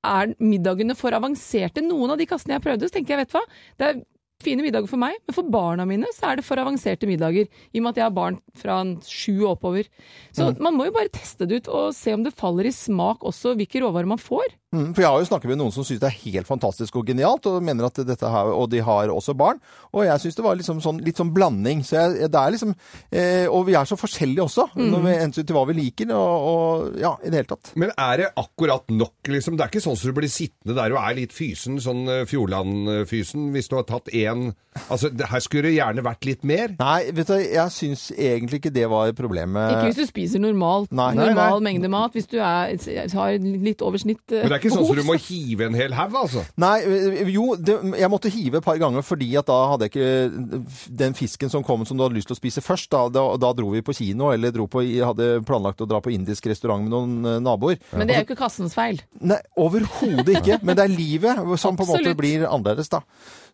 Speaker 3: er middagene for avanserte? Noen av de kassene jeg prøvde, så tenker jeg, vet du hva, det er fine middager for meg, men for barna mine så er det for avanserte middager, i og med at jeg har barn fra en sju og oppover. Så
Speaker 4: Mm.
Speaker 3: man må jo bare teste det ut og se om det faller i smak også, hvilke råvarer man får.
Speaker 2: Mm, For jeg har jo snakket med noen som syns det er helt fantastisk og genialt, og mener at dette her, og de har også barn. Og jeg syns det var liksom sånn, litt sånn blanding. Så jeg, det er liksom eh, Og vi er så forskjellige også, når vi hensyn til hva vi liker, og, og ja, i det hele tatt.
Speaker 4: Men er det akkurat nok, liksom? Det er ikke sånn som du blir sittende der og er litt fysen, sånn eh, Fjordland-fysen, hvis du har tatt én Altså, det, her skulle det gjerne vært litt mer.
Speaker 2: Nei, vet du, jeg syns egentlig ikke det var
Speaker 4: Eh.
Speaker 2: problemet.
Speaker 3: Ikke hvis du spiser normalt,
Speaker 2: Nei, nei,
Speaker 3: normal mengde mat, hvis du er, har litt over snitt eh,
Speaker 4: Men det er ikke sånn
Speaker 3: behov,
Speaker 4: som du må hive en hel haug, altså.
Speaker 2: Nei, eh, jo, det, jeg måtte hive et par ganger fordi at da hadde jeg ikke den fisken som kom som du hadde lyst til å spise først. Da, da, da dro vi på kino, eller dro på, hadde planlagt å dra på indisk restaurant med noen eh, naboer.
Speaker 3: Men det er jo ikke kassens feil.
Speaker 2: Nei, overhodet ikke. Men det er livet som på en måte
Speaker 3: Absolutt.
Speaker 2: blir annerledes, da.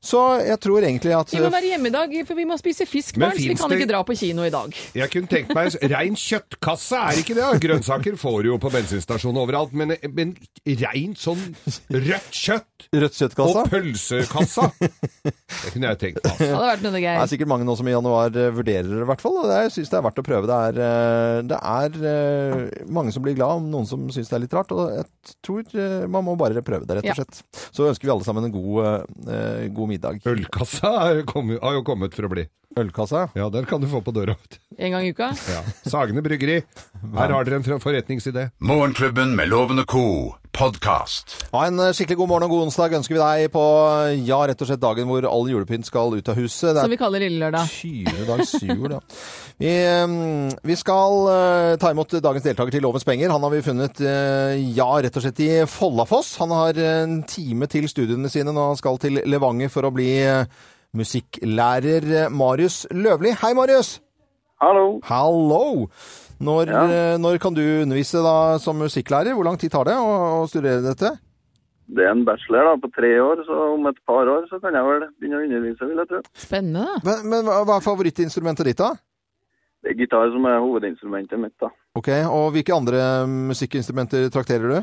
Speaker 2: Så jeg tror egentlig at
Speaker 3: Vi må være hjemme i dag, for vi må spise fisk,
Speaker 4: Men
Speaker 3: barn, så vi
Speaker 4: finnes
Speaker 3: kan
Speaker 4: det-
Speaker 3: ikke dra på kino i dag.
Speaker 4: Jeg kunne tenkt meg rein kjøttkasse, er ikke det? da? Grønnsaker får du jo på bensinstasjonen overalt, men, men reint sånn rødt kjøtt
Speaker 2: rødt
Speaker 4: og
Speaker 2: kjøttkassa
Speaker 4: pølsekassa, det kunne jeg tenkt meg. altså.
Speaker 3: Det hadde vært noe
Speaker 2: Det
Speaker 3: gøy.
Speaker 2: er sikkert mange nå som i januar eh, vurderer det, i hvert fall. Og det er- jeg syns det er verdt å prøve. Det er, eh, det er eh, mange som blir glad, noen som syns det er litt rart. Og jeg tror eh, man må bare prøve det, rett
Speaker 3: Ja.
Speaker 2: og slett. Så ønsker vi alle sammen en god, eh, god middag.
Speaker 4: Ølkassa er jo kommet- har jo kommet for å bli.
Speaker 2: Ølkassa.
Speaker 4: Ja, den kan du få på døra. vet du.
Speaker 3: En gang i uka.
Speaker 4: Ja. Sagene bryggeri. Her har dere en forretningsidé.
Speaker 1: Morgenklubben med Loven og co. podkast.
Speaker 2: Ha en eh, skikkelig god morgen og god onsdag ønsker vi deg på ja, rett og slett dagen hvor all julepynt skal ut av huset. Det er
Speaker 3: Som vi kaller Lille Lørdag.
Speaker 2: 20 dags jul, ja. Vi, eh, vi skal eh, ta imot dagens deltaker til Lovens penger. Han har vi funnet eh, ja, rett og slett i Follafoss. Han har en time til studiene sine når han skal til Levanger for å bli eh, musikklærer. eh, Marius Løvli. Hei, Marius!
Speaker 5: Hallo.
Speaker 2: Hallo! Når, eh, når kan du undervise da som musikklærer? Hvor lang tid tar det å, å studere dette?
Speaker 5: Det er en bachelor da, på tre år, så om et par år så kan jeg vel begynne å undervise, vil jeg tro.
Speaker 3: Spennende, da.
Speaker 2: Men, men hva hva er favorittinstrumentet ditt, da?
Speaker 5: Det er gitar som er hovedinstrumentet mitt, da.
Speaker 2: Ok, Og hvilke andre eh, musikkinstrumenter trakterer du?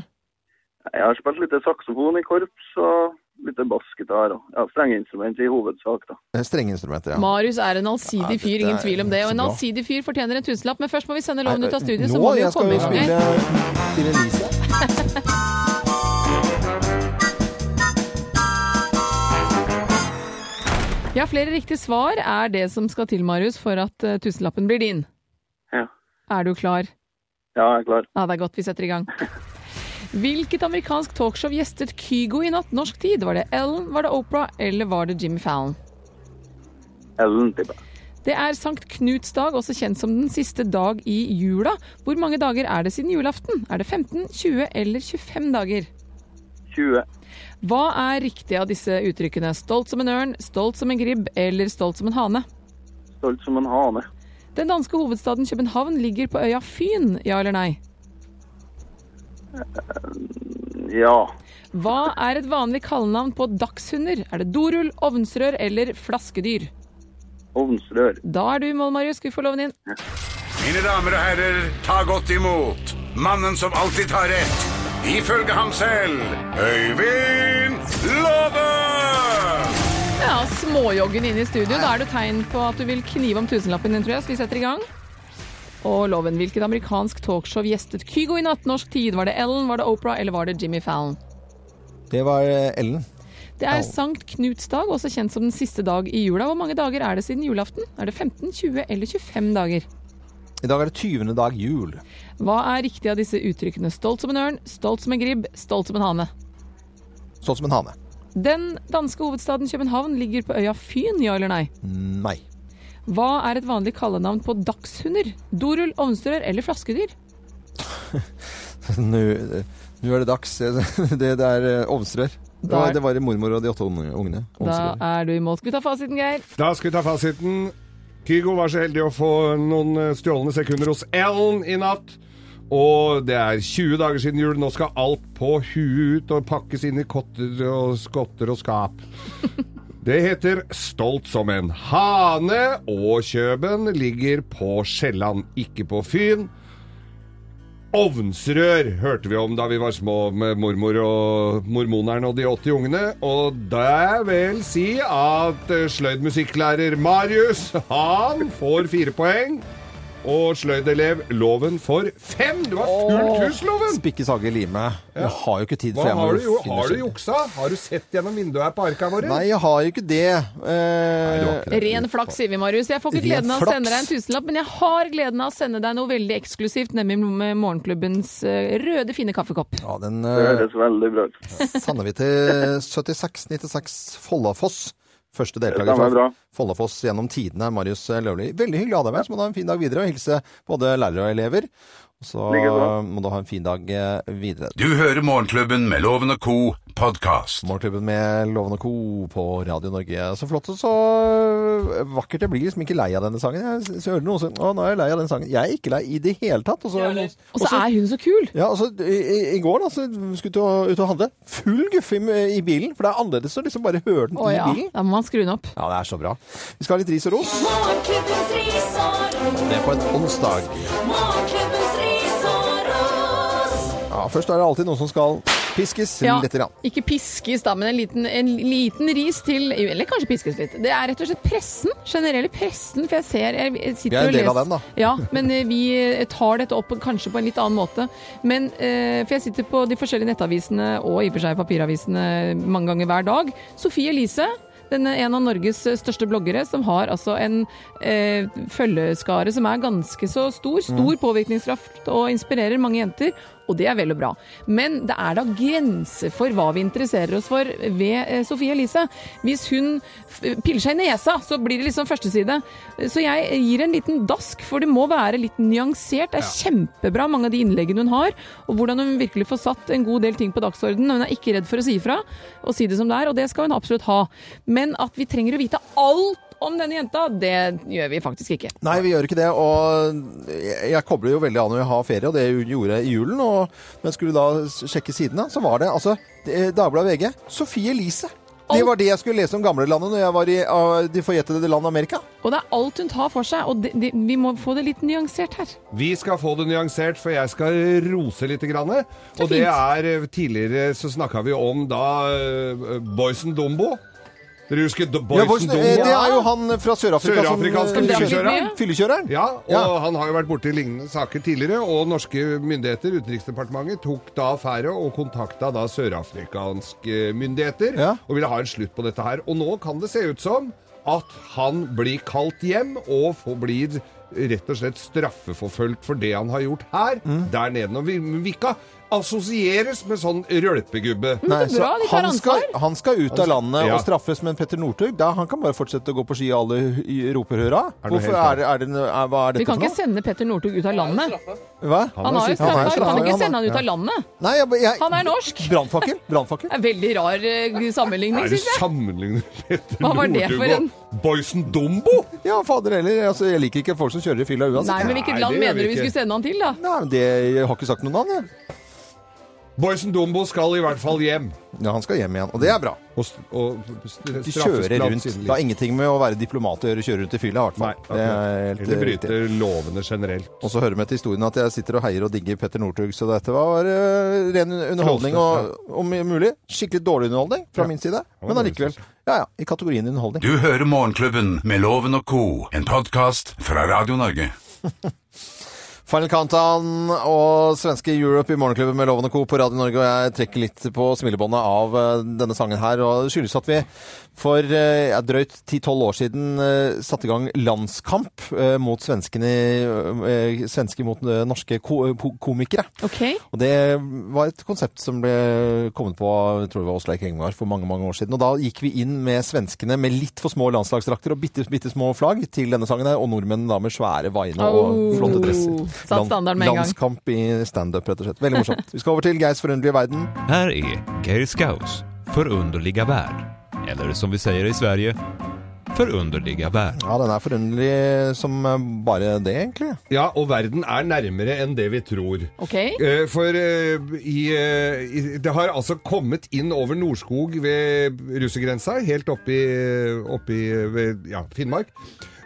Speaker 5: Jeg har spilt litt saksofon i korps og litt bassgitar og ja, strengeinstrument i hovedsak, da.
Speaker 2: Eh, Strengeinstrumenter, ja.
Speaker 3: Marius er en allsidig
Speaker 2: dette
Speaker 3: fyr, ingen
Speaker 2: er
Speaker 3: tvil om det. Og en
Speaker 2: så bra.
Speaker 3: allsidig fyr fortjener en tusenlapp, men først må vi sende loven ut av studiet,
Speaker 2: eh, Nå,
Speaker 3: så må vi jo
Speaker 2: jeg skal
Speaker 3: komme
Speaker 2: jo
Speaker 3: i gang.
Speaker 2: spille til Elise.
Speaker 3: Ja, flere riktige svar er det som skal til, Marius, for at eh, tusenlappen blir din.
Speaker 5: Ja.
Speaker 3: Er du klar?
Speaker 5: Ja, jeg er klar.
Speaker 3: Ja, det er godt vi setter i gang. Hvilket amerikansk talkshow gjestet Kygo i natt norsk tid? Var det Ellen, var det Oprah, eller var det Jimmy Fallon?
Speaker 5: Ellen, tipper jeg.
Speaker 3: Det er Sankt Knuts dag, også kjent som den siste dag i jula. Hvor mange dager er det siden julaften? Er det 15, 20 eller 25 dager?
Speaker 5: 20.
Speaker 3: Hva er riktig av disse uttrykkene? Stolt som en ørn, stolt som en gribb eller stolt som en hane?
Speaker 5: Stolt som en hane.
Speaker 3: Den danske hovedstaden København ligger på øya Fyn, ja eller nei?
Speaker 5: Ja.
Speaker 3: Hva er et vanlig kallenavn på dagshunder? Er det dorull, ovnsrør eller flaskedyr?
Speaker 5: Ovnsrør.
Speaker 3: Da er du i mål, Marius. Skal vi få loven inn?
Speaker 1: Mine damer og herrer, ta godt imot mannen som alltid tar rett. Ifølge ham selv Øyvind Låve!
Speaker 3: Ja, småjoggen inn i studio. Da er det tegn på at du vil knive om tusenlappen din, tror jeg. Så vi setter i gang. Og loven. Hvilket amerikansk talkshow gjestet Kygo i natt norsk tid? Var det Ellen, var det Opera eller var det Jimmy Fallon?
Speaker 2: Det var eh, Ellen.
Speaker 3: Det er
Speaker 2: Au.
Speaker 3: Sankt Knuts dag, også kjent som den siste dag i jula. Hvor mange dager er det siden julaften? Er det 15, 20 eller 25 dager?
Speaker 2: I dag er det 20. dag jul.
Speaker 3: Hva er riktig av disse uttrykkene? Stolt som en ørn, stolt som en gribb, stolt som en hane.
Speaker 2: Sånn som en hane.
Speaker 3: Den danske hovedstaden København ligger på øya Fyn, ja eller nei?
Speaker 2: Nei.
Speaker 3: Hva er et vanlig kallenavn på dagshunder? Dorull, ovnstrør eller flaskedyr?
Speaker 2: Nå, eh, nå er det dags. Det, det er eh, ovnstrør. Det
Speaker 3: Da
Speaker 2: var,
Speaker 3: er-
Speaker 2: det var i mormor og de åtte unge- ungene.
Speaker 3: Da
Speaker 2: Ovnstrør.
Speaker 3: er du i mål. Skal vi ta fasiten, Geir?
Speaker 4: Da skal vi ta fasiten. Kygo var så heldig å få noen eh, stjålne sekunder hos Ellen i natt. Og det er 20 dager siden jul. Nå skal alt på huet ut og pakkes inn i kotter og skotter og skap. Det heter Stolt som en hane, og Kjøben ligger på Sjælland, ikke på Fyn. Ovnsrør hørte vi om da vi var små med mormor og mormoneren og de 80 ungene. Og det vil si at eh, sløydmusikklærer Marius, han får fire poeng. Og sløydelev Loven får fem! Du har fullt hus, Loven!
Speaker 2: Spikke, sage, lime. Jeg har jo ikke tid, for
Speaker 4: Hva
Speaker 2: jeg må
Speaker 4: har du, jo,
Speaker 2: finne
Speaker 4: har du
Speaker 2: skjell.
Speaker 4: juksa? Har du sett gjennom vinduet her på arka våre?
Speaker 2: Nei, jeg har jo ikke det. Eh,
Speaker 4: du har ikke det.
Speaker 3: Ren flaks, sier vi, Marius. Jeg får ikke
Speaker 2: Ren
Speaker 3: gleden av å
Speaker 2: flaks.
Speaker 3: sende deg en tusenlapp, men jeg har gleden av å sende deg noe veldig eksklusivt, nemlig med Morgenklubbens eh, røde, fine kaffekopp.
Speaker 2: ja, den
Speaker 5: Det
Speaker 2: eh,
Speaker 5: høres veldig bra ut.
Speaker 2: sender vi til 7696 Follafoss. Første deltaker
Speaker 5: Det stemmer
Speaker 2: fra
Speaker 5: bra.
Speaker 2: Follafoss gjennom tidene, Marius Løvli. Veldig hyggelig å ha deg med. Så må du ha en fin dag videre, og hilse både lærere og elever. Og Så
Speaker 5: Likeså.
Speaker 2: må du ha en fin dag eh, videre.
Speaker 1: Du hører Morgenklubben med Loven og Co. podkast.
Speaker 2: Morgenklubben med Loven og Co. på Radio Norge. Så flott og så vakkert. Jeg blir liksom ikke lei av denne sangen. Jeg s- hører noen som Å, nå er jeg lei av den sangen. Jeg er ikke lei i det hele tatt. Og så,
Speaker 3: Og så er hun så kul!
Speaker 2: Ja, altså, i, i- i går da, så skulle vi ut og handle. Full guffe i, i bilen, for det er annerledes å liksom bare høre den
Speaker 3: Å
Speaker 2: i
Speaker 3: ja,
Speaker 2: bilen.
Speaker 3: da må man skru den opp.
Speaker 2: Ja, det er så bra. Vi skal ha litt ris og ros.
Speaker 6: Morgenklubbens ris og
Speaker 2: Det er på en
Speaker 6: ros.
Speaker 2: onsdag.
Speaker 6: Morgenklubbens ris og ros.
Speaker 2: Ja, først er det alltid noen som skal piskes
Speaker 3: Ja,
Speaker 2: litt. Grann.
Speaker 3: ikke piskes da, men en liten, en liten ris til Eller kanskje piskes litt. Det er rett og slett pressen. Generelle pressen. For jeg ser jeg sitter
Speaker 2: Vi er en
Speaker 3: og
Speaker 2: del av
Speaker 3: leser-
Speaker 2: den, da.
Speaker 3: Ja, men eh, vi tar dette opp kanskje på en litt annen måte. Men, eh, for jeg sitter på de forskjellige nettavisene og i og for seg papiravisene mange ganger hver dag. Sofie Elise. Denne en av Norges største bloggere som har altså en eh, følgeskare som er ganske så stor. Stor
Speaker 2: Mm.
Speaker 3: påvirkningskraft og inspirerer mange jenter. Og det er vel og bra. Men det er da grenser for hva vi interesserer oss for ved eh, Sofie Elise. Hvis hun f- piller seg i nesa, så blir det liksom førsteside. Så jeg gir en liten dask, for det må være litt nyansert. Det er kjempebra, mange av de innleggene hun har, og hvordan hun virkelig får satt en god del ting på dagsordenen. Hun er ikke redd for å si ifra og si det som det er, og det skal hun absolutt ha. Men at vi trenger å vite alt om denne jenta, det gjør vi faktisk ikke.
Speaker 2: Nei, vi gjør ikke det. Og jeg jeg kobler jo veldig av når jeg har ferie, og det gjorde jeg i julen. Og når jeg skulle da s- sjekke sidene, så var det altså det- Dagbladet VG. Sofie Elise. Det
Speaker 3: Alt-
Speaker 2: var det jeg skulle lese om gamlelandet når jeg var i ah, De forjettede land Amerika.
Speaker 3: Og det er alt hun tar for seg, og det, det, vi må få det litt nyansert her.
Speaker 4: Vi skal få det nyansert, for jeg skal rose litt. Grann.
Speaker 3: Så
Speaker 4: Og det
Speaker 3: fint.
Speaker 4: er eh, Tidligere så snakka vi om da eh, Boysen Dumbo. Dere husker Do-
Speaker 2: Ja,
Speaker 4: Boysen
Speaker 2: Borsen, eh,
Speaker 4: Dumbo?
Speaker 2: det er jo han fra Sør-Afrika som
Speaker 4: Sørafrikanske
Speaker 2: eh,
Speaker 3: fyllekjøreren.
Speaker 2: Fyllekjøreren?
Speaker 4: Ja, og
Speaker 2: Ja.
Speaker 4: han har jo vært borti lignende saker tidligere. Og norske myndigheter, Utenriksdepartementet, tok da affære og kontakta da sørafrikanske myndigheter
Speaker 2: Ja.
Speaker 4: og ville ha en slutt på dette her. Og nå kan det se ut som at han blir kalt hjem og får blir rett og slett straffeforfulgt for det han har gjort her,
Speaker 2: Mm.
Speaker 4: der nede. Og vi, vi ikke assosieres med sånn rølpegubbe.
Speaker 2: Nei,
Speaker 3: så bra, de tar
Speaker 2: han, skal,
Speaker 3: ansvar.
Speaker 2: han skal ut av landet
Speaker 4: Altså, Ja.
Speaker 2: og straffes, men Petter Northug da, han kan bare fortsette å gå på ski og alle hu- i- roper hurra.
Speaker 4: Er det noe
Speaker 2: Hvorfor
Speaker 4: helt
Speaker 2: er, det- er det, noe- er, hva er
Speaker 3: Vi
Speaker 2: dette
Speaker 3: kan
Speaker 2: for
Speaker 3: ikke
Speaker 2: noe?
Speaker 3: sende Petter Northug ut av landet.
Speaker 2: Hva?
Speaker 3: Han har jo
Speaker 2: Han har jo
Speaker 3: straffa, vi kan
Speaker 2: straffa,
Speaker 3: ikke
Speaker 2: han har-
Speaker 3: sende han ut av landet.
Speaker 2: Nei, jeg, jeg,
Speaker 3: Han er norsk.
Speaker 2: Brannfakkel. Brannfakkel.
Speaker 3: Det er veldig rar eh, sammenligning,
Speaker 4: Er det
Speaker 3: syns jeg.
Speaker 4: sammenlignet Petter
Speaker 3: Hva var det
Speaker 4: Northug
Speaker 3: for
Speaker 4: og
Speaker 3: en-
Speaker 4: Boysen Dumbo?
Speaker 2: Ja, fader heller. Altså, jeg liker ikke folk som kjører i fylla uansett.
Speaker 3: Nei, men
Speaker 4: Nei,
Speaker 3: hvilket
Speaker 4: det
Speaker 3: land
Speaker 4: gjør
Speaker 3: mener
Speaker 4: vi
Speaker 3: du vi
Speaker 4: ikke.
Speaker 3: skulle sende han til, da?
Speaker 2: Nei, men det, jeg har ikke sagt noe navn, jeg.
Speaker 4: Boysen Dumbo skal i hvert fall hjem.
Speaker 2: Ja, han skal hjem igjen, og det er bra.
Speaker 4: Og, st- og st- liksom.
Speaker 2: De
Speaker 4: straffes
Speaker 2: kjører
Speaker 4: blant
Speaker 2: rundt.
Speaker 4: sine
Speaker 2: Det har ingenting med å være diplomat å gjøre, kjøre rundt i fylla i hvert
Speaker 4: Nei,
Speaker 2: fall. Det er helt,
Speaker 4: Eller
Speaker 2: eh, riktig.
Speaker 4: bryter lovene generelt.
Speaker 2: Og så hører vi til historien at jeg sitter og heier og digger Petter Northug, så dette var eh, ren underholdning og, om mulig. Skikkelig dårlig underholdning fra min side, men allikevel. Ja ja, i kategorien underholdning.
Speaker 1: Du hører Morgenklubben med Loven og Co., en podkast fra Radio Norge.
Speaker 2: Final Countdown og svenske Europe i Morgenklubben med Loven og Co. på Radio Norge, og jeg trekker litt på smilebåndet av eh, denne sangen her. Og det skyldes at vi for eh, ja, drøyt 10-12 år siden eh, satte i gang landskamp eh, mot svenskene, eh, svenske mot eh, norske ko ko- komikere.
Speaker 3: Ok.
Speaker 2: Og det var et konsept som ble kommet på jeg tror det var Åsleik Engvar for mange mange år siden. Og da gikk vi inn med svenskene med litt for små landslagsdrakter og bitte, bitte små flagg til denne sangen her, og nordmennene da med svære vaiene og
Speaker 3: Oh.
Speaker 2: flotte dresser.
Speaker 3: Satt standarden med en gang.
Speaker 2: Landskamp i standup, rett og slett. Veldig morsomt. Vi skal over til Geirs forunderlige verden.
Speaker 8: Här är Geir Skaus förunderliga värld. Eller som vi säger i Sverige, förunderliga värld.
Speaker 2: Ja, den er forunderlig som bare det, egentlig.
Speaker 4: Ja, og verden er nærmere enn det vi tror.
Speaker 3: Ok.
Speaker 4: Eh, For eh, i, eh, i, det har altså kommet inn over Norskog ved russegrensa, helt oppi, eh, oppi ved, ja, Finnmark,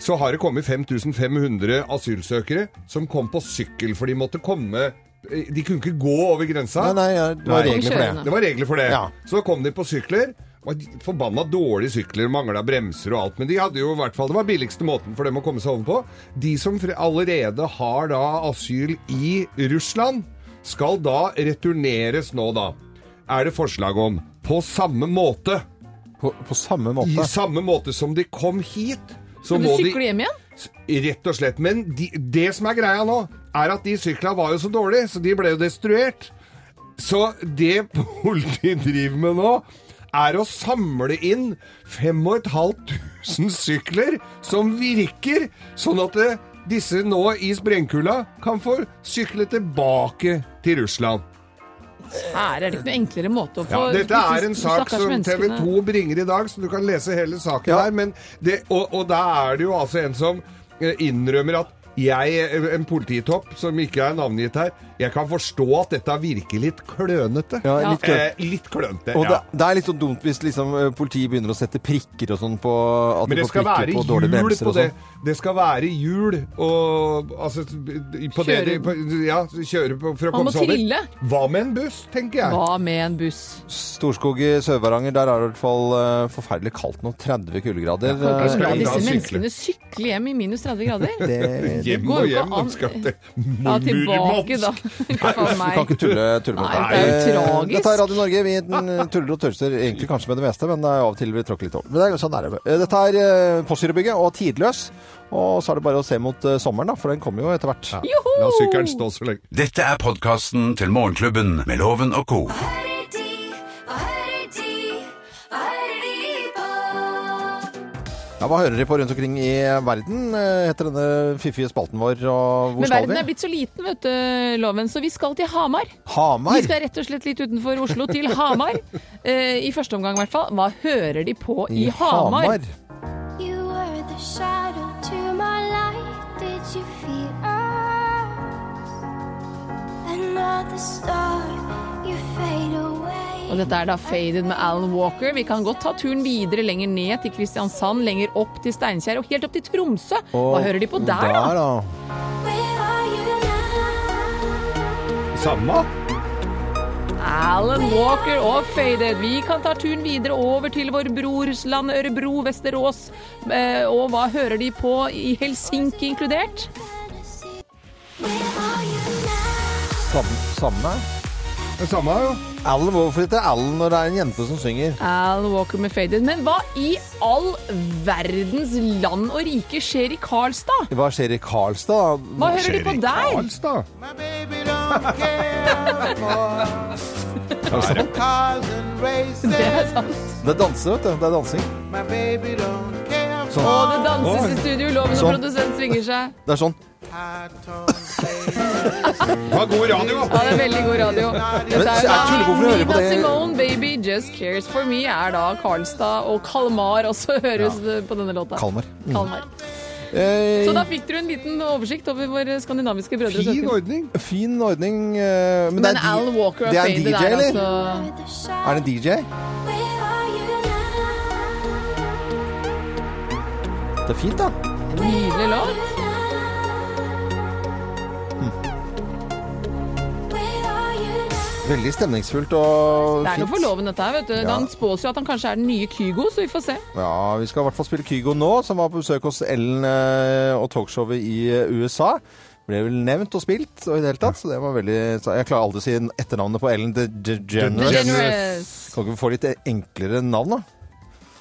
Speaker 4: så har det kommet 5500 asylsøkere som kom på sykkel, for de måtte komme eh, De kunne ikke gå over grensa.
Speaker 2: Nei, nei, ja, det var
Speaker 4: Nei.
Speaker 2: regler for det.
Speaker 4: Det var regler for det.
Speaker 2: Ja.
Speaker 4: Så kom de på sykler. Var forbanna dårlige sykler, mangla bremser og alt. Men de hadde jo i hvert fall Det var billigste måten for dem å komme seg over på. De som fre- allerede har da asyl i Russland, skal da returneres nå, da. Er det forslag om. På samme måte.
Speaker 2: På, på samme
Speaker 4: I
Speaker 2: måte.
Speaker 4: samme måte som de kom hit. Så
Speaker 3: Men du
Speaker 4: må de
Speaker 3: sykler hjem igjen?
Speaker 4: Rett og slett. Men de, det som er greia nå, er at de sykla var jo så dårlige, så de ble jo destruert. Så det politiet driver med nå, er å samle inn 5500 sykler som virker, sånn at eh, disse nå i sprengkula kan få sykle tilbake til Russland.
Speaker 3: Her er det ikke noe enklere måte å få
Speaker 4: Ja, dette er en
Speaker 3: disse
Speaker 4: sak
Speaker 3: stakkars
Speaker 4: som TV
Speaker 3: menneskene-
Speaker 4: 2 bringer i dag, så du kan lese hele saken
Speaker 2: Ja.
Speaker 4: her. Men det, og, og da er det jo altså en som eh, innrømmer at jeg, eh, en polititopp som ikke er navngitt her, jeg kan forstå at dette virker litt klønete.
Speaker 2: Ja, litt klønete.
Speaker 4: Eh, litt klønete,
Speaker 2: Og
Speaker 4: ja.
Speaker 2: det, det er litt sånn dumt hvis liksom, eh, politiet begynner å sette prikker og sånn på at
Speaker 4: Men
Speaker 2: de
Speaker 4: det
Speaker 2: får
Speaker 4: skal
Speaker 2: prikker
Speaker 4: være
Speaker 2: på dårlige
Speaker 4: hjul
Speaker 2: bremser
Speaker 4: på
Speaker 2: og
Speaker 4: det.
Speaker 2: sånn.
Speaker 4: Det skal være hjul og altså, på det de,
Speaker 3: Kjøre.
Speaker 4: på, Ja, kjøre på, for å
Speaker 3: Man
Speaker 4: komme
Speaker 3: må
Speaker 4: seg over.
Speaker 3: trille.
Speaker 4: Hva med en buss, tenker jeg.
Speaker 3: Hva med en buss?
Speaker 2: Storskog i Sør-Varanger, der er det i hvert fall eh, forferdelig kaldt nå. 30 kuldegrader. Eh,
Speaker 4: da skal
Speaker 3: La
Speaker 4: vi
Speaker 3: disse
Speaker 4: da sykle.
Speaker 3: menneskene sykle hjem i minus 30 grader?
Speaker 2: Det-
Speaker 4: Hjem
Speaker 3: går
Speaker 4: og
Speaker 3: jo ikke
Speaker 4: hjem.
Speaker 3: an.
Speaker 4: de Skal til
Speaker 3: Ja, tilbake, da. For
Speaker 2: Vi kan
Speaker 3: meg.
Speaker 2: ikke tulle, tulle med
Speaker 3: Nei, det er jo
Speaker 2: Eh,
Speaker 3: tragisk.
Speaker 2: Dette er Radio Norge. Vi eh, tuller og tøyser egentlig kanskje med det meste, men det er av og til vi tråkker litt over. Men det er, sånn er det. Eh, Dette er eh, Postgirobygget og Tidløs. Og så er det bare å se mot eh, sommeren, da, for den kommer jo etter hvert.
Speaker 4: La sykkelen stå så lenge.
Speaker 1: Dette er podkasten til Morgenklubben med Loven og Co.
Speaker 6: Hva hører de? Hva hører de? Hva hører de på?
Speaker 2: Ja, Hva hører de på rundt omkring i verden, eh, heter denne fiffige spalten vår. Og hvor
Speaker 3: Men
Speaker 2: skal
Speaker 3: verden er
Speaker 2: vi?
Speaker 3: blitt så liten, vet du, Loven, så vi skal til Hamar. Vi
Speaker 2: Hamar!
Speaker 3: skal rett og slett litt utenfor Oslo, til Hamar. Eh, I første omgang, i hvert fall. Hva hører de på i Hamar?
Speaker 6: You were the shadow to my light. Did you feel us? Another star, you fade away.
Speaker 3: Og dette er da Faded med Alan Walker. Vi kan godt ta turen videre lenger ned til Kristiansand, lenger opp til Steinkjer og helt opp til Tromsø. Hva hører de på der, da?
Speaker 2: da?
Speaker 6: Where are you now?
Speaker 4: Samme.
Speaker 3: Alan Walker og Faded. Vi kan ta turen videre over til vår brors land Ørebro, Vesterås. Eh, Og hva hører de på i Helsinki inkludert?
Speaker 6: Fantasy. Where are you now?
Speaker 2: Samme? samme.
Speaker 4: Samme, jo.
Speaker 2: Alan, hvorfor heter det Alan når det er en jente som synger?
Speaker 3: Alan Walker med Faded. Men hva i all verdens land og rike skjer i Karlstad?
Speaker 2: Hva skjer i Karlstad? da?
Speaker 3: Hva hører de
Speaker 1: skjer
Speaker 3: på
Speaker 1: i
Speaker 3: der?
Speaker 4: Karlstad.
Speaker 3: Det er sant.
Speaker 2: Det er danse, vet du. Det er dansing.
Speaker 3: Og
Speaker 2: Sånn.
Speaker 3: det danses i studio. Loven og
Speaker 2: Sånn.
Speaker 3: produsent svinger seg.
Speaker 2: Det er sånn.
Speaker 4: Det var god radio.
Speaker 3: Ja, det er veldig god radio.
Speaker 2: Men
Speaker 3: Dette er
Speaker 2: jeg tuller,
Speaker 3: jo
Speaker 2: hvorfor hører du på
Speaker 3: Nina
Speaker 2: det?
Speaker 3: Simone, 'Baby Just Cares For Me', er da Karlstad og Kalmar også høres eh, på denne låta.
Speaker 2: Kalmar.
Speaker 3: Kalmar.
Speaker 2: Eh,
Speaker 3: Så da fikk dere en liten oversikt over våre skandinaviske brødre og
Speaker 4: Fin
Speaker 3: søsken.
Speaker 4: ordning.
Speaker 2: Fin ordning. eh, Men,
Speaker 3: Men
Speaker 2: det er,
Speaker 3: Al
Speaker 2: di-
Speaker 3: Walker
Speaker 2: det er
Speaker 3: Fade,
Speaker 2: DJ, eller?
Speaker 3: altså.
Speaker 2: er det DJ?
Speaker 6: Where are you now?
Speaker 2: Det er fint, da.
Speaker 3: En nydelig låt.
Speaker 6: You now? Where are you now?
Speaker 2: Veldig stemningsfullt og
Speaker 3: Det er noe
Speaker 2: fint.
Speaker 3: for loven, dette her. vet du.
Speaker 2: Ja.
Speaker 3: Han spås jo at han kanskje er den nye Kygo, så vi får se.
Speaker 2: Ja, Vi skal i hvert fall spille Kygo nå, som var på besøk hos Ellen eh, og talkshowet i eh, USA. Ble vel nevnt og spilt og i det hele tatt, så det var veldig så Jeg klarer aldri å si etternavnet på Ellen DeGeneres.
Speaker 3: DeGeneres.
Speaker 2: Kan ikke vi få litt enklere navn, da?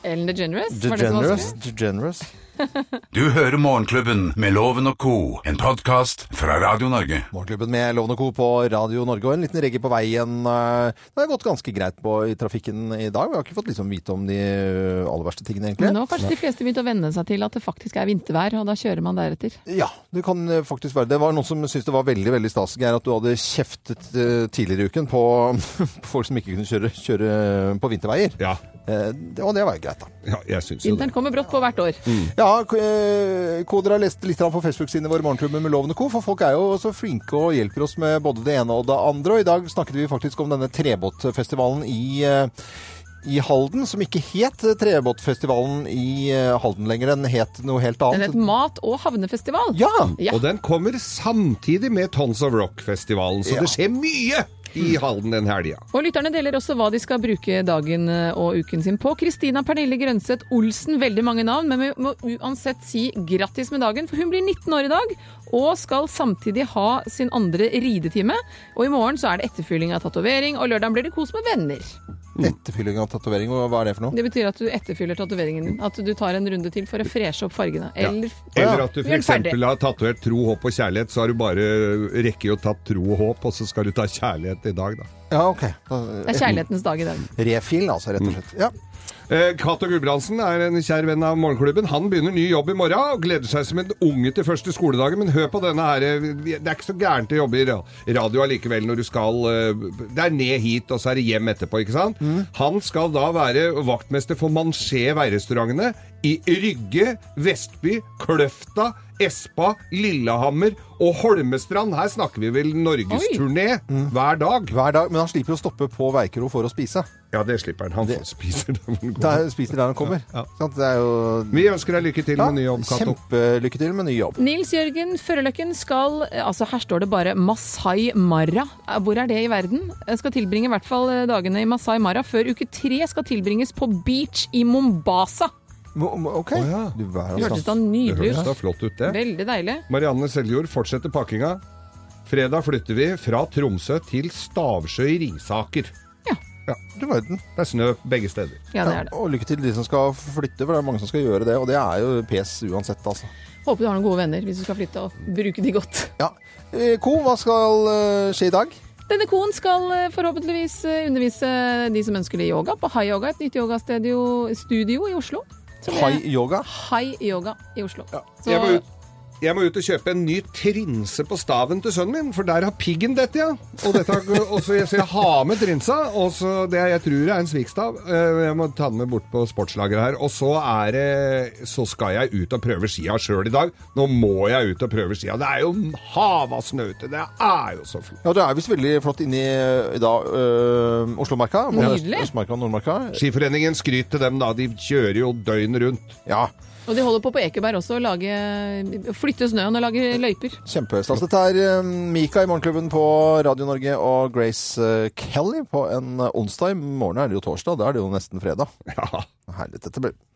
Speaker 3: Ellen DeGeneres. Var det så
Speaker 2: DeGeneres.
Speaker 3: vanskelig?
Speaker 2: DeGeneres.
Speaker 1: Du hører Morgenklubben med Loven og co., en podkast fra Radio Norge.
Speaker 2: Morgenklubben med Loven og Co. på Radio Norge og en liten regge på veien. eh, Det har gått ganske greit på i trafikken i dag. Vi har ikke fått liksom vite om de eh, aller verste tingene, egentlig.
Speaker 3: Men nå har kanskje de fleste begynt å venne seg til at det faktisk er vintervær, og da kjører man deretter.
Speaker 2: Ja, det kan eh, faktisk være. Det var noen som syntes det var veldig veldig stas Geir, at du hadde kjeftet eh, tidligere i uken på, på folk som ikke kunne kjøre, kjøre på vinterveier.
Speaker 4: Ja,
Speaker 2: Eh, det- og det var jo greit, da.
Speaker 4: ja jeg syns jo det. Mm.
Speaker 3: Vinteren kommer brått på hvert år.
Speaker 2: Ja, k- eh, Koder har lest litt grann på Facebook-sidene våre Morgenklubben med Loven og Co. For folk er jo så flinke og hjelper oss med både det ene og det andre. Og i dag snakket vi faktisk om denne trebåtfestivalen i eh, i Halden, som ikke het Trebåtfestivalen i eh, Halden lenger. Den het noe helt
Speaker 3: Den
Speaker 2: annet.
Speaker 3: het Mat- og havnefestival.
Speaker 2: Ja!
Speaker 3: Ja.
Speaker 4: Og den kommer samtidig med Tons of Rock-festivalen, så
Speaker 2: Ja.
Speaker 4: det skjer mye i Halden den helga.
Speaker 3: Og lytterne deler også hva de skal bruke dagen eh, og uken sin på. Kristina Pernille Grønseth Olsen, veldig mange navn, men vi må uansett si grattis med dagen, for hun blir 19 år i dag og skal samtidig ha sin andre ridetime. Og i morgen så er det etterfylling av tatovering, og lørdagen blir det kos med venner.
Speaker 2: Etterfylling av tatovering, og hva er det for noe?
Speaker 3: Det betyr at du etterfyller tatoveringen din. At du tar en runde til for å freshe opp fargene. Eller,
Speaker 4: Eller at du
Speaker 3: Gjør den
Speaker 4: f.eks.
Speaker 3: ferdig.
Speaker 4: har tatovert tro, håp og kjærlighet, så har du bare rekker å ta tro og håp, og så skal du ta kjærlighet i dag, da.
Speaker 2: Ja, ok.
Speaker 3: Det er kjærlighetens dag i dag.
Speaker 2: Refill, altså,
Speaker 4: Mm.
Speaker 2: rett og slett. Ja.
Speaker 4: Eh, Cato Gulbrandsen er en kjær venn av morgenklubben. Han begynner ny jobb i morgen og gleder seg som en unge til første skoledagen. Men hør på denne her. eh, vi- Det er ikke så gærent å jobbe i ra- radio allikevel når du skal eh, Det er ned hit, og så er det hjem etterpå, ikke sant? Han skal da være vaktmester for Manché veirestaurantene i Rygge, Vestby, Kløfta, Espa, Lillehammer og Holmestrand. Her snakker vi vel norgesturné hver dag.
Speaker 2: Hver dag, men han slipper å stoppe på Veikro for å spise.
Speaker 4: Ja, det slipper han. Han får spiser det hvor han går.
Speaker 2: Der, spiser der han kommer.
Speaker 4: Ja.
Speaker 2: Sant? Det er jo
Speaker 4: Vi ønsker deg lykke til
Speaker 2: ja,
Speaker 4: med ny jobb, Cato.
Speaker 2: Kjempelykke til med ny jobb.
Speaker 3: Nils Jørgen Førerløkken skal Altså, her står det bare Masai Mara. Eh, Hvor er det i verden? Jeg skal tilbringe i hvert fall eh, dagene i Masai Mara før uke tre skal tilbringes på beach i Mombasa.
Speaker 2: Mo- mo- OK.
Speaker 4: Å, ja.
Speaker 2: Du verden. altså.
Speaker 3: Hørtes sånn- da
Speaker 4: Det
Speaker 3: nydelig
Speaker 4: høres da
Speaker 3: ut.
Speaker 4: flott ut, det.
Speaker 3: Veldig deilig.
Speaker 4: Marianne Seljord fortsetter pakkinga. Fredag flytter vi fra Tromsø til Stavsjø i Risaker.
Speaker 2: Du verden.
Speaker 4: Det er snø begge steder.
Speaker 3: Ja, det er det.
Speaker 2: Og lykke til de som skal flytte, for det er mange som skal gjøre det. Og det er jo pes uansett, altså.
Speaker 3: Håper du har noen gode venner hvis du skal flytte og bruke de godt.
Speaker 2: Ja. Eh, Ko, hva skal eh, skje i dag?
Speaker 3: Denne koen skal eh, forhåpentligvis eh, undervise de som ønsker det i yoga på High Yoga, et nytt yogastudio studio i Oslo. Så det-
Speaker 2: High yoga.
Speaker 3: High Yoga i Oslo. Så,
Speaker 4: Jeg må, ut, jeg må ut og kjøpe en ny trinse på staven til sønnen min, for der har piggen dette, ja. Og dette, har- og så jeg, så jeg har med trinsa, og så det jeg tror er en svikstav. Eh, Jeg må ta den med bort på sportslageret her. Og så, er, det- så skal jeg ut og prøve skia sjøl i dag. Nå må jeg ut og prøve skia. Det er jo hava snø ute. Det er jo så flott.
Speaker 2: Ja, du er visst veldig flott inne i eh, da, øh, Oslomarka. både
Speaker 3: Nydelig.
Speaker 2: Øst- Østmarka og Nordmarka.
Speaker 4: Skiforeningen skryter dem da, de kjører jo døgnet rundt.
Speaker 2: Ja.
Speaker 3: Og de holder på på Ekeberg også å lage, flytte snøen og lage løyper.
Speaker 2: Kjempestas. Dette er eh, Mika i Morgenklubben på Radio Norge og Grace eh, Kelly på en eh, onsdag. I morgen er det jo torsdag, da er det jo nesten fredag.
Speaker 4: Ja.
Speaker 2: Herlig, dette blir